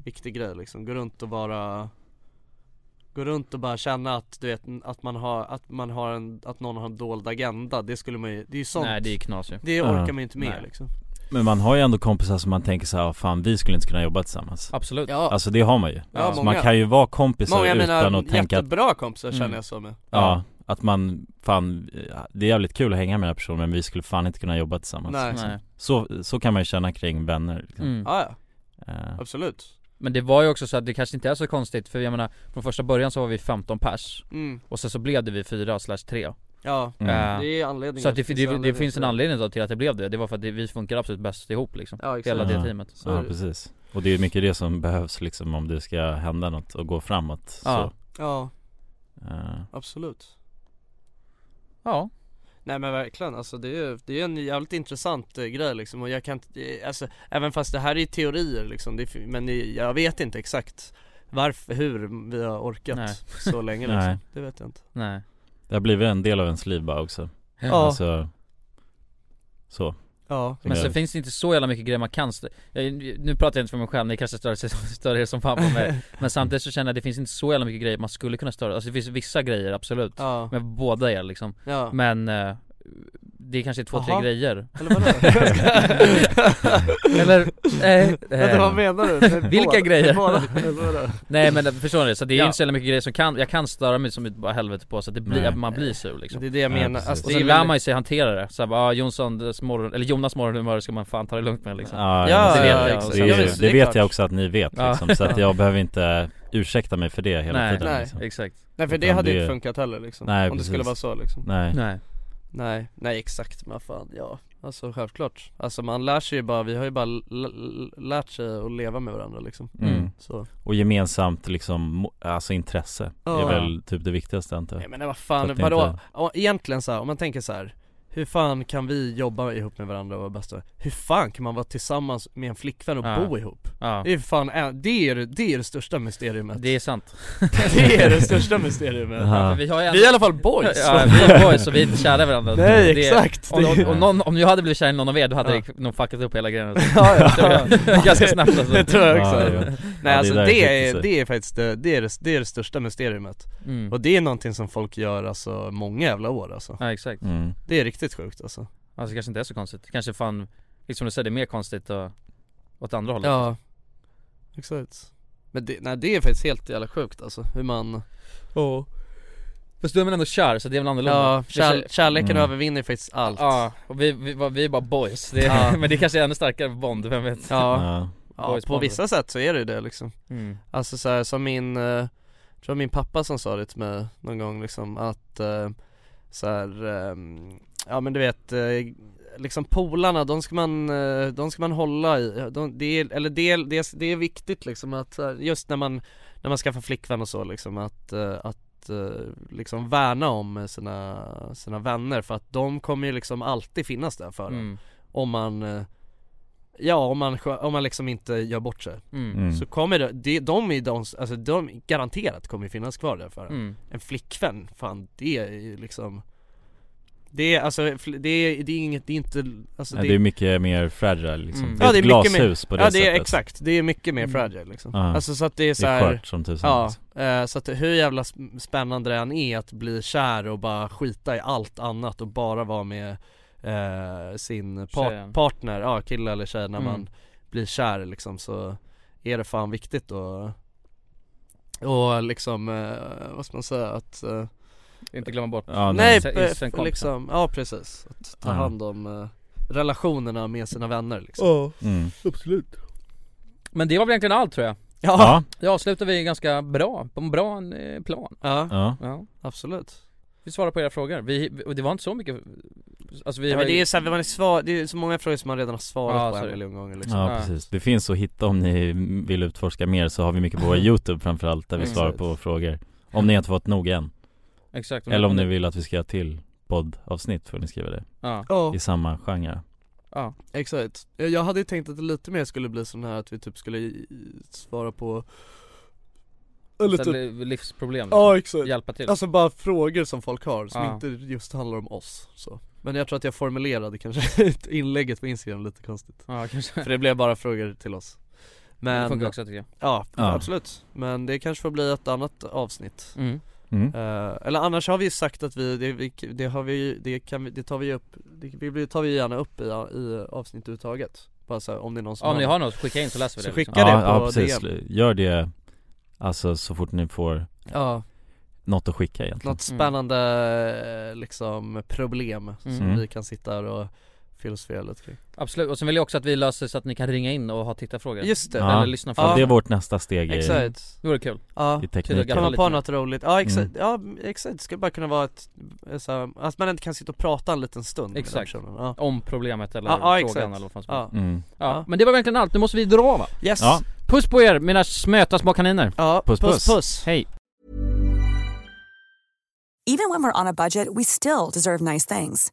Viktig grej liksom, gå runt och vara Gå runt och bara känna att du vet att man har, att man har en, att någon har en dold agenda Det skulle man ju, det är ju sånt Nej det är det, ju knas ju orkar Ja. man ju inte med Nej. Alltså, liksom Men man har ju ändå kompisar som man tänker såhär, fan vi skulle inte kunna jobba tillsammans Absolut Ja, Alltså det har man ju ja Så många, man kan ju vara kompisar många utan mina att tänka att, jättebra kompisar känner Mm. jag så med ja, att man, fan, det är jävligt kul att hänga med den här personen men vi skulle fan inte kunna jobba tillsammans Nej. Alltså, Nej. Så, så kan man ju känna kring vänner liksom. Mm. Ah, Ja, ja, Eh, absolut Men det var ju också så att det kanske inte är så konstigt för jag menar Från första början så var vi 15 pers mm. Och sen så blev det vi 4 slash 3 Ja, mm. Eh, det är anledningen Så att det, det, det, anledningar finns till en anledning då till att det blev det Det var för att det, vi funkar absolut bäst ihop liksom Ja exakt Hela det Ja. teamet Så är Ja det. precis Och det är mycket det som behövs liksom om det ska hända något och gå framåt Ja. så, Ja, eh, absolut Ja Nej men verkligen, alltså det är, det är en jävligt intressant eh, grej liksom och jag kan inte- eh, alltså även fast det här är teorier liksom, det, är- men det- jag vet inte exakt varför, hur vi har orkat Nej. så länge liksom, Nej. det vet jag inte Nej Det har blivit en del av ens liv bara också Ja. Alltså, Så Ja Men Ja. sen finns det inte så jävla mycket grejer man kan stö- jag, Nu pratar jag inte för mig själv, ni kanske stör, stör er som fan på mig Men samtidigt så känner jag att det finns inte så jävla mycket grejer man skulle kunna störa Alltså det finns vissa grejer absolut Ja. Men båda er liksom Ja. Men eh, det är kanske två, Jaha. tre grejer Eller vadå? Eller, eh, eh, Vänta, vad menar du? Det är Vilka båda- det grejer? är båda- det är båda. Nej men förstår ni? Så det är Ja. inte så jävla mycket grejer som kan, jag kan störa mig som ett bara helvete på så att det blir, Nej. man blir sur liksom Det är det jag Ja, menar. precis. Alltså, Och det är sen väl- lär man ju sig hantera det, såhär bara ah, Jonssons morgon, eller Jonas morgonhumör ska man fan ta det lugnt med liksom Ja, det vet det, jag också. det, Ja, det, visst, är vet klart. jag också att ni vet Ja. liksom, så att jag behöver inte ursäkta mig för det hela Nej, tiden nej, liksom. exakt. Nej för det Utan hade ju inte funkat heller liksom, Nej, om det skulle precis. vara så liksom Nej. Nej Nej, nej exakt men fan ja, alltså självklart Alltså man lär sig ju bara, vi har ju bara l- l- lärt sig att leva med varandra liksom Mm. Så Och gemensamt liksom, mo- alltså intresse Ja. är väl typ det viktigaste antar jag Nej men vad Så fan, att det vadå? inte- Ja, Egentligen så här, om man tänker så här Hur fan kan vi jobba ihop med varandra och vara bästa? Hur fan kan man vara tillsammans med en flickvän och Ja. bo ihop? Ja. Det är fan, en- det är det, är det största mysteriumet Det är sant Det är det största mysteriumet Ja, för vi, har ju Vi är i alla fall boys Ja, ja, vi är boys och vi är inte kära i varandra Nej, exakt. Om, om, Det- om, någon, om jag hade blivit kär i någon av er, då hade Ja. det nog fuckat upp hela grejen Ja, Tror ja. jag. Ganska snabbt alltså. Det tror jag också Ja, ja. Nej Ja, alltså det där det är, skiter sig. det är faktiskt det, det, är det, det är det största mysteriumet Mm. Och det är någonting som folk gör alltså många jävla år alltså Ja exakt Mm. Det är riktigt sjukt alltså Alltså det kanske inte är så konstigt, kanske fan, liksom du säger, det är mer konstigt och, åt andra hållet Ja Exakt Men det, nej det är faktiskt helt jävla sjukt alltså hur man oh. Fast du är väl ändå kär, så det är väl annorlunda? Ja, Det kär, kän- kärleken Mm. övervinner faktiskt allt Ja, och vi, vi, var- vi är bara boys, det, Ja. men det kanske är ännu starkare bond, vem vet? Ja, ja Boys på bond. vissa sätt så är det ju det liksom Mm. Alltså så här, som min, eh, jag tror min pappa som sa det till mig någon gång liksom att eh, så här, eh, ja men du vet eh, Liksom polarna, de ska man, eh, de ska man hålla i, de, det är, eller det, är- det, är- det är viktigt liksom att så här, just när man, när man skaffar flickvän och så liksom att, eh, att eh, liksom värna om sina, sina vänner för att de kommer ju liksom alltid finnas där för en Mm. om man eh, Ja om man, skö- om man liksom inte gör bort sig Mm. Mm. Så kommer det, de, de är de, alltså de garanterat kommer ju finnas kvar där för en. Mm. en flickvän, fan det är ju liksom Det är alltså, fl- det är, det är inget, det är inte, alltså Nej, det är mycket mer fragile liksom. Mm. Det är Ja, ett det är mycket mer- glashus på det Ja det sättet är exakt, det är mycket mer fragile liksom Ja. Alltså så att det är så Det är här, skört som tusan, Ja, liksom. eh, så att hur jävla sp- spännande det än är att bli kär och bara skita i allt annat och bara vara med eh, sin par- Tjejen. partner, ja kille eller tjej när Mm. man blir kär liksom så är det fan viktigt och och liksom, eh, vad ska man säga att eh, Inte glömma bort Ja, Nej, sen- eh, sen kompisen. liksom, ja precis, att ta Ja. hand om eh, relationerna med sina vänner liksom Mm. absolut Men det var väl egentligen allt tror jag Ja. Det avslutar vi ganska bra, på en bra eh, plan Ja, Ja. Ja absolut Vi svarar på era frågor, vi, vi- och det var inte så mycket Alltså vi Nej, har men det ju- är så här, man är svar, det är så många frågor som man redan har svarat Ja, på så en är det. miljon gånger liksom. Ja Ja. precis, det finns att hitta om ni vill utforska mer så har vi mycket på vår youtube framförallt där vi Mm. svarar på frågor Om ni inte fått nog än, Exakt Mm. eller om ni vill att vi ska göra till poddavsnitt får ni skriva det Ja, Ja, i samma genre ja, exakt. Eh, Jag hade ju tänkt att det lite mer skulle bli sån här att vi typ skulle i- i- svara på eller Så typ, li- livsproblem ja exakt. Hjälpa till Alltså bara frågor som folk har som Ja. inte just handlar om oss så. Men jag tror att jag formulerade kanske inlägget på Instagram lite konstigt. Ja kanske, För det blev bara frågor till oss. det Men, funkar också tycker jag ja, Ja. absolut. Men det kanske får bli ett annat avsnitt. mm. mm. Eh, eller annars har vi ju sagt att vi, det, vi, det har vi, det kan vi, det tar vi upp, det, vi- det tar vi gärna upp i, i avsnitt överhuvudtaget Bara så här, om det är någon som Ja, om ni har något, skicka in så läser vi Så det skicka- liksom. det på Ja, ja precis, gör det Alltså så fort ni får Ja, något att skicka egentligen Mm. något spännande eh, liksom problem som Mm. vi kan sitta här och filosofera lite kring Absolut, och sen vill jag också att vi löser så att ni kan ringa in och ha tittarfrågor Just det, Ja. Eller lyssna Så frågor det är vårt nästa steg i, exakt Det vore kul Ja, i Kan tekniken Mm. komma lite på mer. något roligt, ja exakt, ja exakt, det skulle bara kunna vara ett, så här, att man inte kan sitta och prata en liten stund med den Exakt. personen ja. Om problemet eller Ja, ja, frågan exakt. eller vad fan som helst ja, mm. ja. Men det var egentligen allt, nu måste vi dra va? yes! Ja. Ja, Puss på er mina smöta små kaniner! puss puss, puss. puss. Hej! Even when we're on a budget, we still deserve nice things.